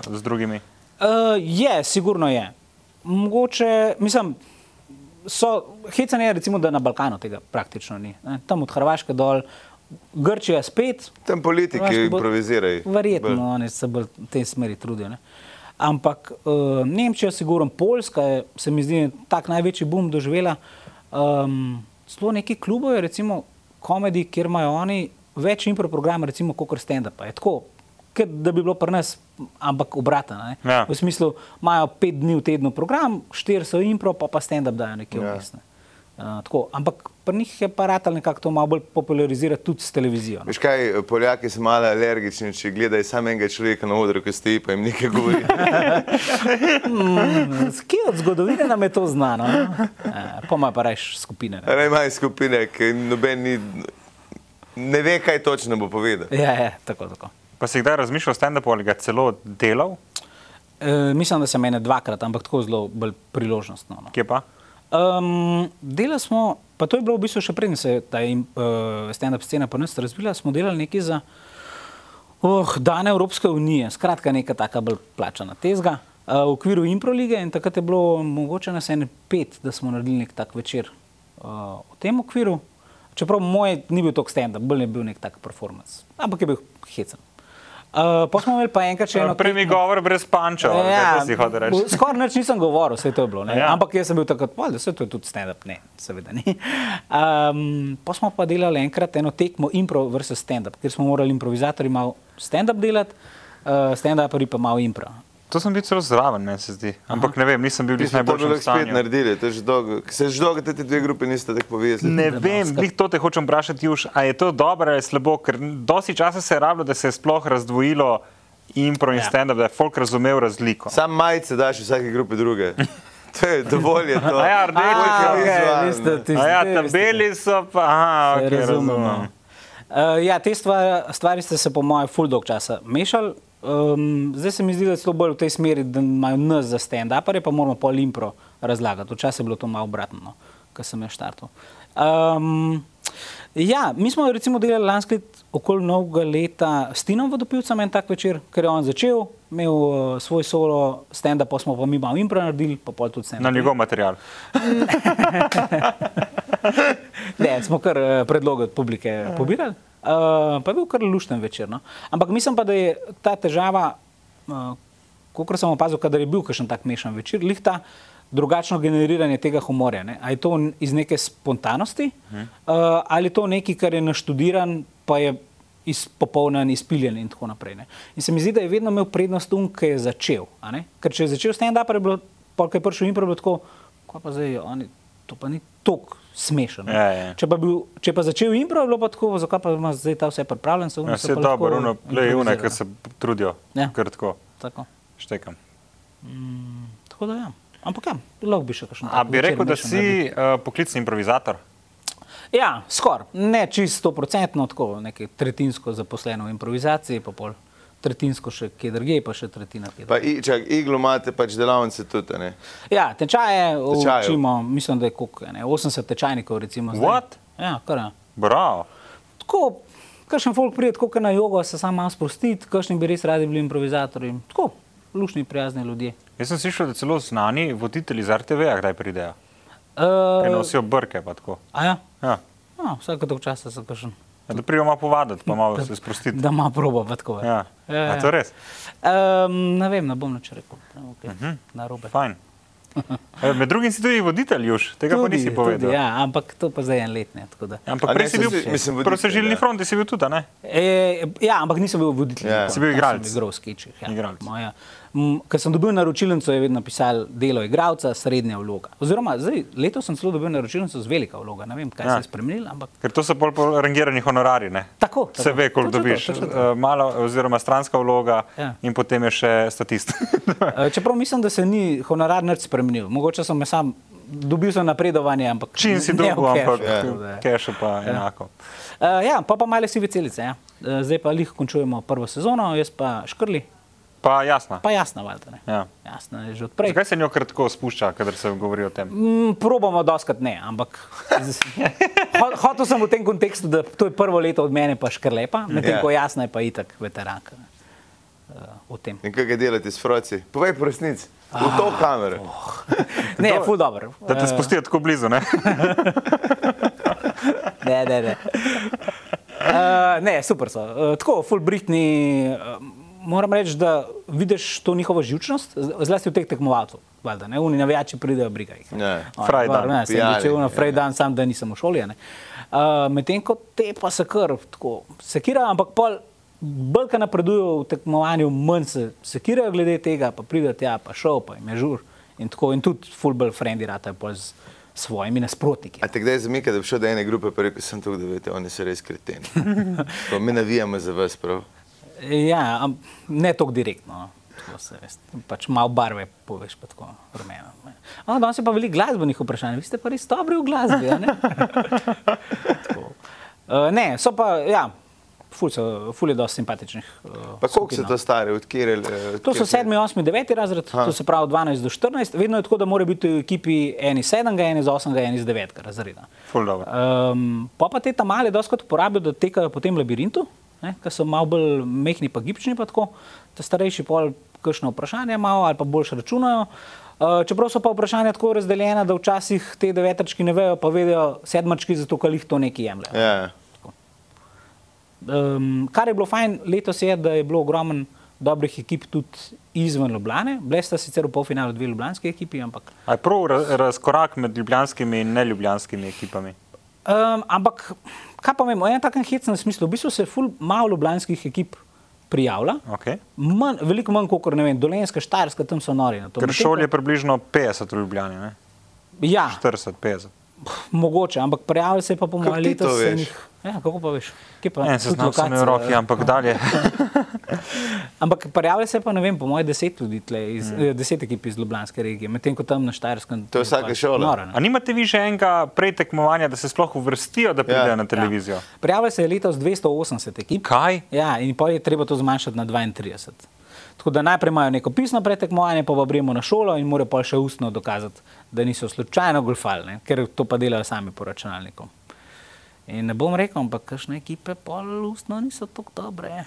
[SPEAKER 3] z drugimi?
[SPEAKER 2] Uh, je, sigurno je. Mogoče, mislim, so, hecanje je, recimo, da na Balkanu tega praktično ni. Ne? Tam od Hrvaške dol, Grčija spet,
[SPEAKER 1] Tam politiki
[SPEAKER 2] Hrvaški bolj-
[SPEAKER 1] improvizirajo.
[SPEAKER 2] Verjetno oni se bolj v tej smeri trudijo. Ne? Ampak uh, Nemčija, sigurno Poljska, je, se mi zdi, tak največji boom doživela. Um, Zelo neki klubov je, recimo komedij, kjer imajo oni več impro programa, recimo kot stand-up. Je tako, kot da bi bilo pri nas, ampak obratno. ne.
[SPEAKER 3] Ja.
[SPEAKER 2] V smislu, imajo pet dni v tednu program, štiri so impro, pa pa stand-up dajo nekje
[SPEAKER 1] Ja.
[SPEAKER 2] vmes. Ne. Uh, tako. ampak pri njih je paratal nekako to malo bolj popularizirati tudi s televizijo. ne.
[SPEAKER 1] Veš kaj, Poljaki so malo alergični, če gledajo samo enega človeka na odru, ki stoji pa jim nekaj govori.
[SPEAKER 2] Mm, Kje od zgodovine nam je to znano? ne? Ja, Pa ima pa reš skupine. ne.
[SPEAKER 1] Raj imajo skupine, ki jim noben ni, ne ve, kaj točno bo povedal.
[SPEAKER 2] Ja, ja, tako, tako.
[SPEAKER 3] Pa si kdaj razmišljal o stand-upu ali ga celo delal,
[SPEAKER 2] E, mislim, da se meni dvakrat, ampak tako zelo bolj priložnostno. No.
[SPEAKER 3] kje pa?
[SPEAKER 2] Um, delali smo, pa to je bilo v bistvu še preden se je ta uh, stand-up scena pri nas razvila, smo delali nekaj za oh, Dan Evropske unije, skratka neka taka bolj plačana tezga uh, v okviru improlige in takrat je bilo mogoče nas ene pet, da smo naredili nek tak večer uh, v tem okviru. Čeprav moj ni bil tako stand-up, bolj je bil nek tak performance, ampak je bil hecen. Uh, pa smo imeli pa enkrat še eno.
[SPEAKER 3] Prej mi
[SPEAKER 2] tekmo.
[SPEAKER 3] govor brez pančev, ja, si hotel reči.
[SPEAKER 2] bo- Skoraj nič nisem govoril, vse to je bilo.
[SPEAKER 3] Ja.
[SPEAKER 2] Ja. Ampak jaz sem bil takrat, "Pa, da se to je tudi stand-up, ne, seveda ni. Um, pa smo pa delali enkrat eno tekmo impro versus stand-up, ker smo morali improvizatorji malo stand-up delati, uh, stand-uperi pa malo impro.
[SPEAKER 3] To sem bil celo zraven, meni se zdi. Ampak ne vem, nisem bil
[SPEAKER 1] Mi
[SPEAKER 3] v
[SPEAKER 1] smo to že
[SPEAKER 3] najboljšem
[SPEAKER 1] lahko spet
[SPEAKER 3] stanju.
[SPEAKER 1] naredili, to je že dolgo. Ke Se je že dolgo te te dve grupe niste tako povezali.
[SPEAKER 3] Ne
[SPEAKER 2] Debavska.
[SPEAKER 3] vem, glih to te hočem vprašati, Juž, a je to dobro ali slabo, ker dosti časa se je rabilo, da se je sploh razdvojilo impro in
[SPEAKER 2] Ja.
[SPEAKER 3] stand-up, da je folk razumel razliko.
[SPEAKER 1] Sam majice daš vsake grupe druge. To je dovolj. Je to.
[SPEAKER 3] A ja, rdeče,
[SPEAKER 1] Koliko je
[SPEAKER 3] okej,
[SPEAKER 1] izvan, ne.
[SPEAKER 3] A ja, ta beli so pa, aha, okay, razumem. no.
[SPEAKER 2] Razumemo. Uh, ja, te stvari, stvari ste se, po mojem, full dog časa mešali. Um, zdaj se mi zdi, da je celo bolj v tej smeri, da imajo nas za stand-upere, pa moramo pol impro razlagati. Včasih je bilo to malo obratno, no, ko sem jaz štartal. Um, ja, mi smo recimo delali lansko leto, okoli novega leta, s Tinom Vodopilcem en tak večer, ker je on začel, imel uh, svoj solo stand-up, pa smo pa mi malo impro naredili, pa pol tudi stand-up.
[SPEAKER 3] Na njegov material.
[SPEAKER 2] Ne, smo kar eh, predloge od publike pobirali. Uh, pa je bil kar lušten večer. No? Ampak mislim pa, da je ta težava, uh, kot sem opazil, kadar je bil kakšen tak mešan večer, lih ta drugačno generiranje tega humorja. Ne? A je to n- iz neke spontanosti uh, ali je to nekaj, kar je naštudiran, pa je izpopolnjen, izpiljen in tako naprej. Ne? In se mi zdi, da je vedno imel prednost um, ki je začel. a ne. Ker če je začel s tem, da je bilo, polk je prišel in prav je bilo tako, kaj pa zdaj, oni, to pa ni tako smešno. ne."
[SPEAKER 3] Ja, ja.
[SPEAKER 2] Če pa, bil, če pa začel impro, je bilo pa tako, zakaj pa ima zdaj ta vse pripravljen, se
[SPEAKER 3] Ja,
[SPEAKER 2] umre.
[SPEAKER 3] vse dobro, runo, le une, ker se trudijo.
[SPEAKER 2] Ja.
[SPEAKER 3] Kar tako,
[SPEAKER 2] Tako.
[SPEAKER 3] štekam.
[SPEAKER 2] tako da ja. Ampak ja, lahko bi še kakšno.
[SPEAKER 3] A
[SPEAKER 2] tako
[SPEAKER 3] bi
[SPEAKER 2] večer
[SPEAKER 3] rekel, da
[SPEAKER 2] mešan naredil.
[SPEAKER 3] si uh, poklicni improvizator?
[SPEAKER 2] Ja, skoraj. Ne čisto procentno, tako nekaj tretjinsko zaposleno v improvizaciji, pa pol tretjinsko še kje drugje, pa še tretjina kje.
[SPEAKER 1] Pa i- čak, iglo imate pač delavnice tudi, a ne?
[SPEAKER 2] Ja, tečaje
[SPEAKER 1] Tečajev.
[SPEAKER 2] učimo, mislim, da je koliko, ene 80 tečajnikov. Recimo, zdaj.
[SPEAKER 3] What?
[SPEAKER 2] Ja, kar je.
[SPEAKER 3] Bravo.
[SPEAKER 2] Tako, kakšen folk pride, tako kot na jogo, se sam malo sprosti, kakšni bi res radi bili improvizatorji. Tako, lušni, prijazni ljudje.
[SPEAKER 3] Jaz sem slišal, da celo znani voditelji z RTV-ja kdaj pridejo.
[SPEAKER 2] Uh,
[SPEAKER 3] Ker nosijo brke, pa tako.
[SPEAKER 2] a ja,
[SPEAKER 3] Ja.
[SPEAKER 2] no, vsake toliko časa se kakšen.
[SPEAKER 3] Ja, Da pridemo malo povaditi, pa malo se sprostiti.
[SPEAKER 2] Da ima proba, pa tako.
[SPEAKER 3] Ja.
[SPEAKER 2] Ja,
[SPEAKER 3] A to res? Mhm.
[SPEAKER 2] Um, ne vem, ne bom nič rekel. Okay. Uh -huh. Na robe.
[SPEAKER 3] Fajn. E, Med drugim si tudi voditelj, Juž, tega tudi, pa nisi povedal. Ja,
[SPEAKER 2] Tudi, ja, ampak to pa zdaj je en letni.
[SPEAKER 1] A
[SPEAKER 3] Ampak
[SPEAKER 1] ne,
[SPEAKER 3] prej si
[SPEAKER 1] sem
[SPEAKER 3] bil,
[SPEAKER 1] si- mislim,
[SPEAKER 3] mislim,
[SPEAKER 1] voditelj,
[SPEAKER 3] prosežilni
[SPEAKER 1] ja.
[SPEAKER 3] front, si bil tudi, a ne?
[SPEAKER 2] E, ja, ampak nisem bil voditelj.
[SPEAKER 1] Ja.
[SPEAKER 2] nikoli.
[SPEAKER 3] Si bil
[SPEAKER 2] Tam sem
[SPEAKER 3] igralec.
[SPEAKER 2] Igral v skečih. Ja.
[SPEAKER 3] Igralec.
[SPEAKER 2] Moja- m, Ko sem dobil naročilnico, je vedno pisal delo igralca, srednja vloga. Oziroma, zdaj, letos sem celo dobil naročilnico z velika vloga. Ne vem, kaj
[SPEAKER 3] Ja.
[SPEAKER 2] ja. se je spremenilo, ampak
[SPEAKER 3] Ker to so bolj po rangirani honorari, ne?
[SPEAKER 2] tako. tako.
[SPEAKER 3] Se ve, koliko
[SPEAKER 2] Točno to,
[SPEAKER 3] dobiš.
[SPEAKER 2] točno to.
[SPEAKER 3] E, Malo, oziroma stranska vloga
[SPEAKER 2] Ja.
[SPEAKER 3] in potem je še statist.
[SPEAKER 2] E, Čeprav mislim, da se ni honorar nič spremenil. Mogoče sem jaz sam dobil sem napredovanje, ampak
[SPEAKER 3] Čim si
[SPEAKER 2] ne
[SPEAKER 3] dobil,
[SPEAKER 2] v kešu, ja.
[SPEAKER 3] ampak ja.
[SPEAKER 2] tako da je.
[SPEAKER 3] kešu pa enako.
[SPEAKER 2] Uh, ja, pa pa male sive celice. Ja. Uh, zdaj pa lih končujemo prvo sezono, jaz pa škrli,
[SPEAKER 3] Pa jasno.
[SPEAKER 2] pa jasno, valjda ne.
[SPEAKER 3] Ja.
[SPEAKER 2] Jasno je že od prej.
[SPEAKER 3] Zakaj se njo kratko spušča, kadar se govori o tem?
[SPEAKER 2] Mm, probamo doskrat ne, ampak z- ho- hotel sem v tem kontekstu, da to je prvo leto od mene pa škrlepa, medtem
[SPEAKER 1] Ja.
[SPEAKER 2] ko jasno je pa itak veteranka uh, v tem.
[SPEAKER 1] In kaj ga delate s froci? Povej prosnic, v to
[SPEAKER 3] Ah.
[SPEAKER 1] kamero.
[SPEAKER 2] Ne, je ful dobro.
[SPEAKER 3] Da te
[SPEAKER 2] Eh,
[SPEAKER 3] spustijo tako blizu, ne?
[SPEAKER 2] Ne, ne, ne. Uh, ne, super so. Uh, tako, full Britni. Uh, moram reči, da vidiš to njihovo živčnost, z- zlasti v teh tekmovalcev. Valjda, ne, oni navijači pridejo, briga jih.
[SPEAKER 1] Ja.
[SPEAKER 3] Frajdan,
[SPEAKER 2] Ne, sem
[SPEAKER 1] pijani,
[SPEAKER 2] začel na
[SPEAKER 1] ja.
[SPEAKER 2] Frajdan, sam Eh, da nisem v šoli. a ne. Uh, Medtem ko te pa se kar tako sekira, ampak pol bolj ko napredujejo v tekmovanju, manj se sekirajo glede tega, pa pridejo tja, pa šel, pa jim je žur. In, tako, in tudi fulbol frendi ratajo pol z svojimi nasprotniki.
[SPEAKER 1] A te kdaj zamika, da bi šel do ene grupe, pa rekel sem tu, da veste, oni so res kreteni. Pa mi navijamo za vas, prav.
[SPEAKER 2] Ja, am- ne tako direktno. no. Tako se veste. Pač malo barve poveš, pa tako rumeno. A, danes je pa veliko glasbenih vprašanj, vi ste pa res dobri v glasbi. a Ne? Tako. Eh, ne, so pa, ja, ful, so, ful je dosti simpatičnih. eh,
[SPEAKER 1] Pa koliko se
[SPEAKER 2] skupin, no.
[SPEAKER 1] to stari, odkjer?
[SPEAKER 2] To so 7, 8, 9 razred, ha. to se pravi 12 do 14. Vedno je tako, da mora biti v ekipi en iz 7, en iz 8, en iz 9 razreda.
[SPEAKER 3] Ful dobro.
[SPEAKER 2] Um, pa pa te tam male doskrat uporabijo, da tekajo po tem labirintu, ki so malo bolj mehni, pa gibčni, pa tako. Ta starejši pol kakšno vprašanje imajo ali pa boljše računajo. Uh, čeprav so pa vprašanja tako razdeljena, da včasih te devetrčki ne vejo, pa vejo sedmački, zato ker jih to neki jemlje.
[SPEAKER 1] Ja.
[SPEAKER 2] Um, kar je bilo fajn letos, je, da je bilo ogromno dobrih ekip tudi izven Ljubljana. Bile sta sicer v polfinalu dve ljubljanski ekipi, ampak,
[SPEAKER 3] A je prav ra- razkorak med ljubljanskimi in neljubljanskimi ekipami?
[SPEAKER 2] um, ampak kaj pa vemo, en takem hecnem smislu, v bistvu se ful malo ljubljanskih ekip prijavlja.
[SPEAKER 3] Okay.
[SPEAKER 2] Manj, veliko manj kot Dolenska, Štajerska, tam so nori. na to.
[SPEAKER 3] Ker
[SPEAKER 2] Medtem
[SPEAKER 3] šol je
[SPEAKER 2] ko-
[SPEAKER 3] približno 50 v Ljubljani, ne?
[SPEAKER 2] Ja,
[SPEAKER 3] 40, 50.
[SPEAKER 2] pf, mogoče, ampak prijavlja se je pa po mojem
[SPEAKER 1] ti to
[SPEAKER 2] letu.
[SPEAKER 1] veš?
[SPEAKER 2] Ja, kako pa veš? Kje Pa,
[SPEAKER 3] En
[SPEAKER 2] Ja, Tudi ja.
[SPEAKER 3] seznam sem imel
[SPEAKER 2] lokacija,
[SPEAKER 3] v roki,
[SPEAKER 1] ja.
[SPEAKER 3] ampak dalje.
[SPEAKER 2] Ampak prijavlja se pa, ne vem, po mojem, deset ljudi, tle iz, mm. deset ekip iz Ljubljanske regije, medtem ko tam na Štajerskem. pač
[SPEAKER 1] To je vsaka šola.
[SPEAKER 2] Nora,
[SPEAKER 3] A nimate vi še enega pretekmovanja, da se sploh uvrstijo, da pridejo ja. na televizijo? Ja.
[SPEAKER 2] Prijavlja se je letos 280 ekip.
[SPEAKER 3] Kaj?
[SPEAKER 2] Ja, in pa je treba to zmanjšati na 32. Tako da najprej imajo neko pisno pretekmovanje, pa vabimo na šolo in morajo pa še ustno dokazati, da niso slučajno golfalne, ker to pa delajo sami po računalniku. In ne bom rekel, ampak kakšne ekipe pol ustno niso tako dobre.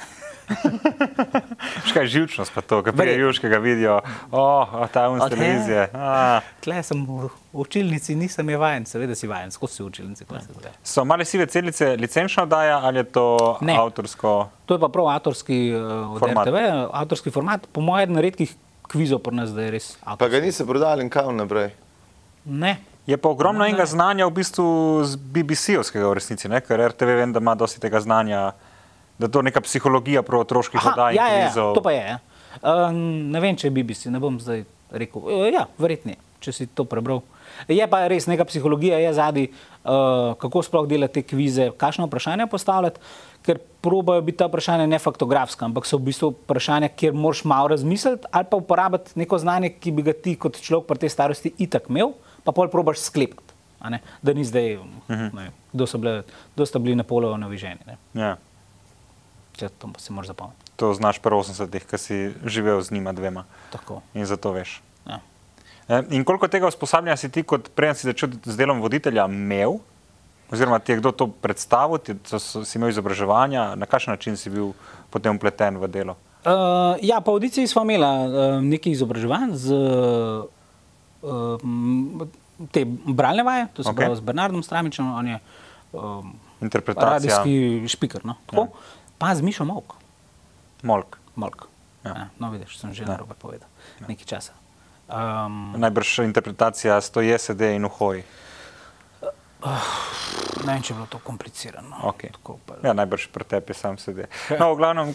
[SPEAKER 3] Škaj živčnost pa to, ki prije
[SPEAKER 2] Verjetno.
[SPEAKER 3] Južkega vidijo, o, oh, ta je
[SPEAKER 2] Od-
[SPEAKER 3] z televizije. A,
[SPEAKER 2] Tle sem v v učilnici, nisem je vajen, seveda si vajen, skozi si v učilnici. kaj se dogaja.
[SPEAKER 3] so male sive celice licenčna oddaja ali je to
[SPEAKER 2] Ne.
[SPEAKER 3] ne. avtorsko?
[SPEAKER 2] To je pa prav avtorski, uh, od
[SPEAKER 3] Format.
[SPEAKER 2] RTV, avtorski format, po mojem, na redkih kvizov pri nas, da je res
[SPEAKER 1] Pa
[SPEAKER 2] avtorski.
[SPEAKER 1] ga niso prodali in kam naprej.
[SPEAKER 2] Ne.
[SPEAKER 3] Je pa ogromno
[SPEAKER 2] Ne,
[SPEAKER 3] enega
[SPEAKER 2] ne.
[SPEAKER 3] znanja v bistvu z BBC-ovskega v resnici, ne? ker RTV vem, da ima dosti tega znanja, da je to neka psihologija pro otroških oddaj. in
[SPEAKER 2] ja, ja, ja,
[SPEAKER 3] kvizov.
[SPEAKER 2] to pa je. ja. Uh, ne vem, če je BBC, ne bom zdaj rekel. Uh, ja, verjetno, je, če si to prebral. Je pa res neka psihologija, je zadnji, uh, kako sploh delati te kvize, kakšno vprašanje postavljati, ker probajo biti ta vprašanja ne faktografska, ampak so v bistvu vprašanja, kjer moraš malo razmisliti ali pa uporabiti neko znanje, ki bi ga ti kot človek pri tej starosti itak imel, pa pol probaš sklepati. a ne, Da ni zdaj, uh -huh. ne, vem, kdo, so bile, kdo sta bili Napoleonovi ženi, ne,
[SPEAKER 3] Ja.
[SPEAKER 2] če to si moraš zapomniti.
[SPEAKER 3] To znaš pri 80-ih, ki si živel z njima dvema
[SPEAKER 2] Tako.
[SPEAKER 3] in zato veš.
[SPEAKER 2] Ja.
[SPEAKER 3] E, In koliko tega usposabljanja si ti, kot prej si začel z delom voditelja, imel? Oziroma, ti je kdo to predstavil, ti so, so, si imel izobraževanja, na kakšen način si bil potem upleten v delo?
[SPEAKER 2] Uh, ja, po audiciji smo imeli uh, nekaj izobraževanj z uh, m, te bralne vaje, to se
[SPEAKER 3] Ok.
[SPEAKER 2] okay. pravi z Bernardom Stramičem, on je um,
[SPEAKER 3] Interpretacija,
[SPEAKER 2] radijski špiker. No? Tako,
[SPEAKER 3] Ja.
[SPEAKER 2] Pa z Mišo Mok,
[SPEAKER 3] molk.
[SPEAKER 2] Molk.
[SPEAKER 3] Ja.
[SPEAKER 2] Ja. Ja, no, vidiš, sem že
[SPEAKER 3] Ja.
[SPEAKER 2] ja. narobe povedal, ja. nekaj časa. Um,
[SPEAKER 3] Najbrž interpretacija stoje, sede in uhoji.
[SPEAKER 2] ne vem, če je bilo to komplicirano.
[SPEAKER 3] Okay.
[SPEAKER 2] Tako, pa,
[SPEAKER 3] Ja, najbrž pri tebi sam sedi. No, v glavnem,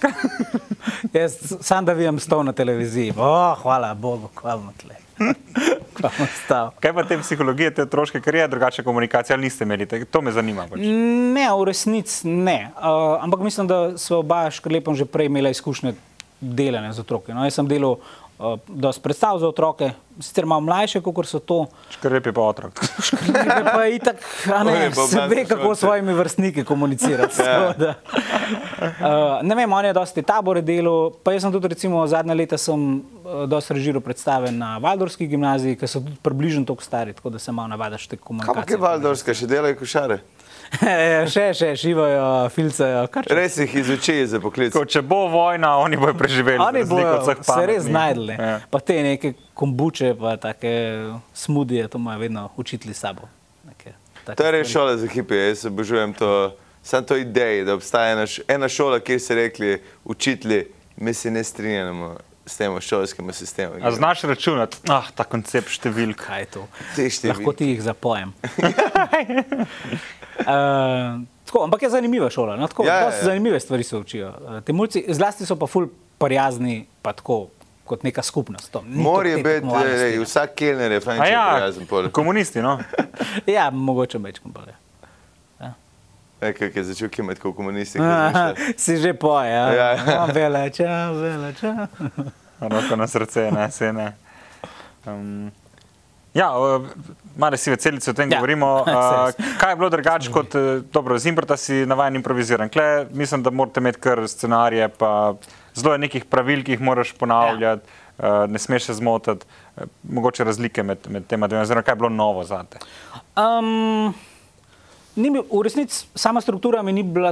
[SPEAKER 2] Jaz sam da vidim stol na televiziji. Oh, hvala Bogu, kvalno tle. Kvalno stav.
[SPEAKER 3] kaj pa te psihologije, te otroške, ker je drugače komunikacija, ali niste imeli tega? To me zanima. Pač.
[SPEAKER 2] Ne, v resnici ne. Uh, ampak mislim, da smo oba s Krlepom že prej imela izkušnje delanja z otroki. No, jaz sem delal uh, dosti predstav za otroke, sicer malo mlajše, kot so to.
[SPEAKER 3] Škrlep je pa otrok.
[SPEAKER 2] Škrlepe pa je itak, a
[SPEAKER 1] On
[SPEAKER 2] ne,
[SPEAKER 1] je pa v
[SPEAKER 2] se ve,
[SPEAKER 1] glasboslovce.
[SPEAKER 2] kako s svojimi vrstniki komunicirati. ja. uh, ne vem, on je dosti tabore delal, pa jaz sem tudi recimo zadnja leta sem uh, dosti režiral predstave na Valdorski gimnaziji, ker so tudi približno tako stari, tako da se malo navadaš te
[SPEAKER 1] Kaj pa
[SPEAKER 2] komunikacije.
[SPEAKER 1] kaj Valdorska, še delajo košare?
[SPEAKER 2] še, še šivajo, filcajo, kar če.
[SPEAKER 1] Res jih izučijo za poklic.
[SPEAKER 3] Ko, če bo vojna, oni bodo preživeli. za
[SPEAKER 2] Oni
[SPEAKER 3] razliko od
[SPEAKER 2] bojo
[SPEAKER 3] vseh
[SPEAKER 2] se
[SPEAKER 3] pametnih.
[SPEAKER 2] res znašli,
[SPEAKER 3] Ja.
[SPEAKER 2] ja. pa te neke kombuče, pa take smudije, to imajo vedno učitelji s sabo. Neke, take
[SPEAKER 1] To je res
[SPEAKER 2] stvari.
[SPEAKER 1] šola za hipije, jaz obožujem to, samo to idejo, da obstaja ena, š- ena šola, kjer se rekli učitelji, mi se ne strinjamo s tem šolskim sistemom.
[SPEAKER 3] A znaš računati, ah, ta koncept številk.
[SPEAKER 2] Kaj je to?
[SPEAKER 1] Te številke.
[SPEAKER 2] Lahko ti jih zapojem. Uh, tako, ampak je zanimiva šola. No, tako,
[SPEAKER 1] Ja, ja,
[SPEAKER 2] ja, ja.
[SPEAKER 1] ja.
[SPEAKER 2] Zanimive stvari se učijo. Eh, Ti mulci, zlasti so pa ful prijazni, pa tako kot neka skupnost. To, ni
[SPEAKER 1] Morajo
[SPEAKER 2] toliko te
[SPEAKER 1] biti,
[SPEAKER 2] tekmovalnosti,
[SPEAKER 1] lej,
[SPEAKER 2] ne.
[SPEAKER 1] vsak kelner je fajn,
[SPEAKER 3] A
[SPEAKER 1] če je
[SPEAKER 3] ja,
[SPEAKER 1] prijazen pol.
[SPEAKER 3] komunisti, no.
[SPEAKER 2] Ja, mogoče večkrat bolje.
[SPEAKER 1] Nekaj je začel kimati kot komunisti.
[SPEAKER 2] Aha, Si že poje, ja.
[SPEAKER 1] Ja,
[SPEAKER 2] ja.
[SPEAKER 1] ja.
[SPEAKER 2] Vele, ča, vele, ča.
[SPEAKER 3] Roko na no, srce, ne, se ne. Um, ja, malo si veselice o tem
[SPEAKER 2] Ja,
[SPEAKER 3] ja. govorimo. Uh,
[SPEAKER 2] se res.
[SPEAKER 3] kaj je bilo drugače kot, eh, dobro, z Improta si navajen improviziran. Kle, mislim, da morate imeti kar scenarije, pa zelo je nekih pravil, ki jih moraš ponavljati, ja. uh, ne smeš se zmotiti. Eh, Mogoče razlike med, med tema dvema, oziroma kaj je bilo novo za te.
[SPEAKER 2] Um, ni mi, v resnici sama struktura mi ni bila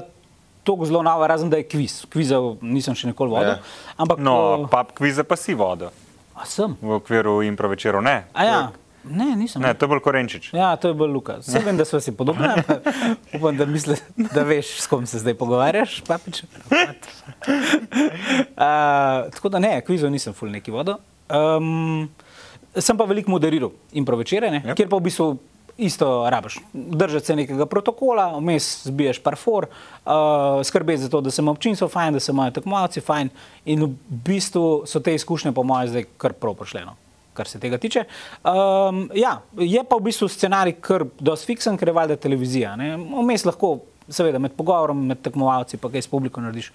[SPEAKER 2] tako zelo nova, razen da je kviz. Kvizov nisem še nikoli vodil.
[SPEAKER 1] Ja.
[SPEAKER 2] Ja. Ampak
[SPEAKER 3] No,
[SPEAKER 2] eh,
[SPEAKER 3] pa kvize pa si vodo
[SPEAKER 2] a sem.
[SPEAKER 3] v okviru improvečerov, ne.
[SPEAKER 2] A ja, ne, nisem.
[SPEAKER 3] Ne, to je bolj korenčič.
[SPEAKER 2] Ja, to je bolj Luka. Vse vem, da smo si podobni, ampak upam, da, misli, da veš, s kom se zdaj pogovarjaš, papič. Uh, tako da ne, kvizov nisem ful neki vodo. Um, sem pa veliko moderiral in provečere,
[SPEAKER 3] Yep.
[SPEAKER 2] yep. kjer pa v bistvu isto rabiš. Držati se nekega protokola, vmes zbiješ parfor, uh, skrbeti za to, da se ima občinstvo fajn, da se imajo tekmovalci fajn in v bistvu so te izkušnje po mojem zdaj kar prav no. pošljeno. Kar se tega tiče. Um, ja, je pa v bistvu scenarij kar dosti fiksen, ker je valjda televizija. ne. Vmes lahko seveda med pogovorom, med tekmovalci, pa kaj s publiko narediš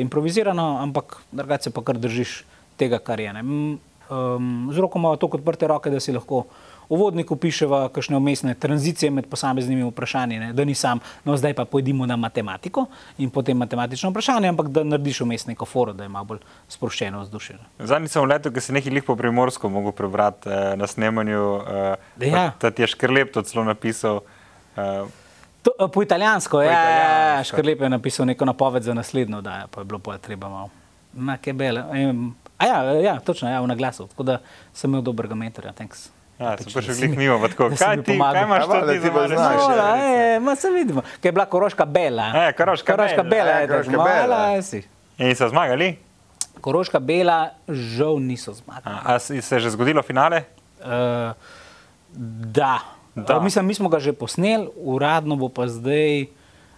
[SPEAKER 2] improvizirano, ampak drugače se pa kar držiš tega, kar je. ne. M, Um, z roko imamo tako odprte roke, da si lahko v vodniku piševa kakšne umestne tranzicije med posameznimi vprašanji, ne? da ni sam, no zdaj pa pojdimo na matematiko in potem matematično vprašanje, ampak da narediš vmes neko foro, da ima bolj sproščeno vzdušje. ne.
[SPEAKER 3] Zadnji sem v letu, ki si nekaj lih po primorsko mogel prebrati eh, na snemanju. Eh,
[SPEAKER 2] Ja.
[SPEAKER 3] Ta ti je škrlep to celo napisal. Eh,
[SPEAKER 2] To, a, po italijansko, ja, ja, ja,
[SPEAKER 3] italijansko.
[SPEAKER 2] Škrlep je napisal neko napoved za naslednjo, da pa je bilo pa treba malo. Na kebele. em, A ja, ja, točno, ja, v naglasu. Tako da sem imel dobrega mentorja, thanks.
[SPEAKER 3] ja, sem
[SPEAKER 2] Pač, da
[SPEAKER 3] prišel
[SPEAKER 2] si
[SPEAKER 3] glih
[SPEAKER 2] mi-
[SPEAKER 3] mimo, pa tako,
[SPEAKER 2] da si mi
[SPEAKER 3] kaj ti,
[SPEAKER 2] pomagal.
[SPEAKER 3] kaj imaš
[SPEAKER 1] Ja,
[SPEAKER 3] to
[SPEAKER 1] valjda
[SPEAKER 3] ti
[SPEAKER 1] ti
[SPEAKER 3] za
[SPEAKER 1] pa
[SPEAKER 3] mene?
[SPEAKER 1] znaš, ja.
[SPEAKER 2] Mola, e, ma se vidimo, ker je bila Koroška bela.
[SPEAKER 3] Ja, Koroška
[SPEAKER 2] Koroška
[SPEAKER 3] bela,
[SPEAKER 2] bela
[SPEAKER 1] ja,
[SPEAKER 2] je
[SPEAKER 1] Koroška
[SPEAKER 2] tako mala,
[SPEAKER 1] bela.
[SPEAKER 2] a si.
[SPEAKER 3] In so zmagali?
[SPEAKER 2] Koroška bela žal niso zmagali.
[SPEAKER 3] A, a si- se je že zgodilo finale?
[SPEAKER 2] Uh, da.
[SPEAKER 3] Da.
[SPEAKER 2] da. Mislim, mi smo ga že posneli, uradno bo pa zdaj.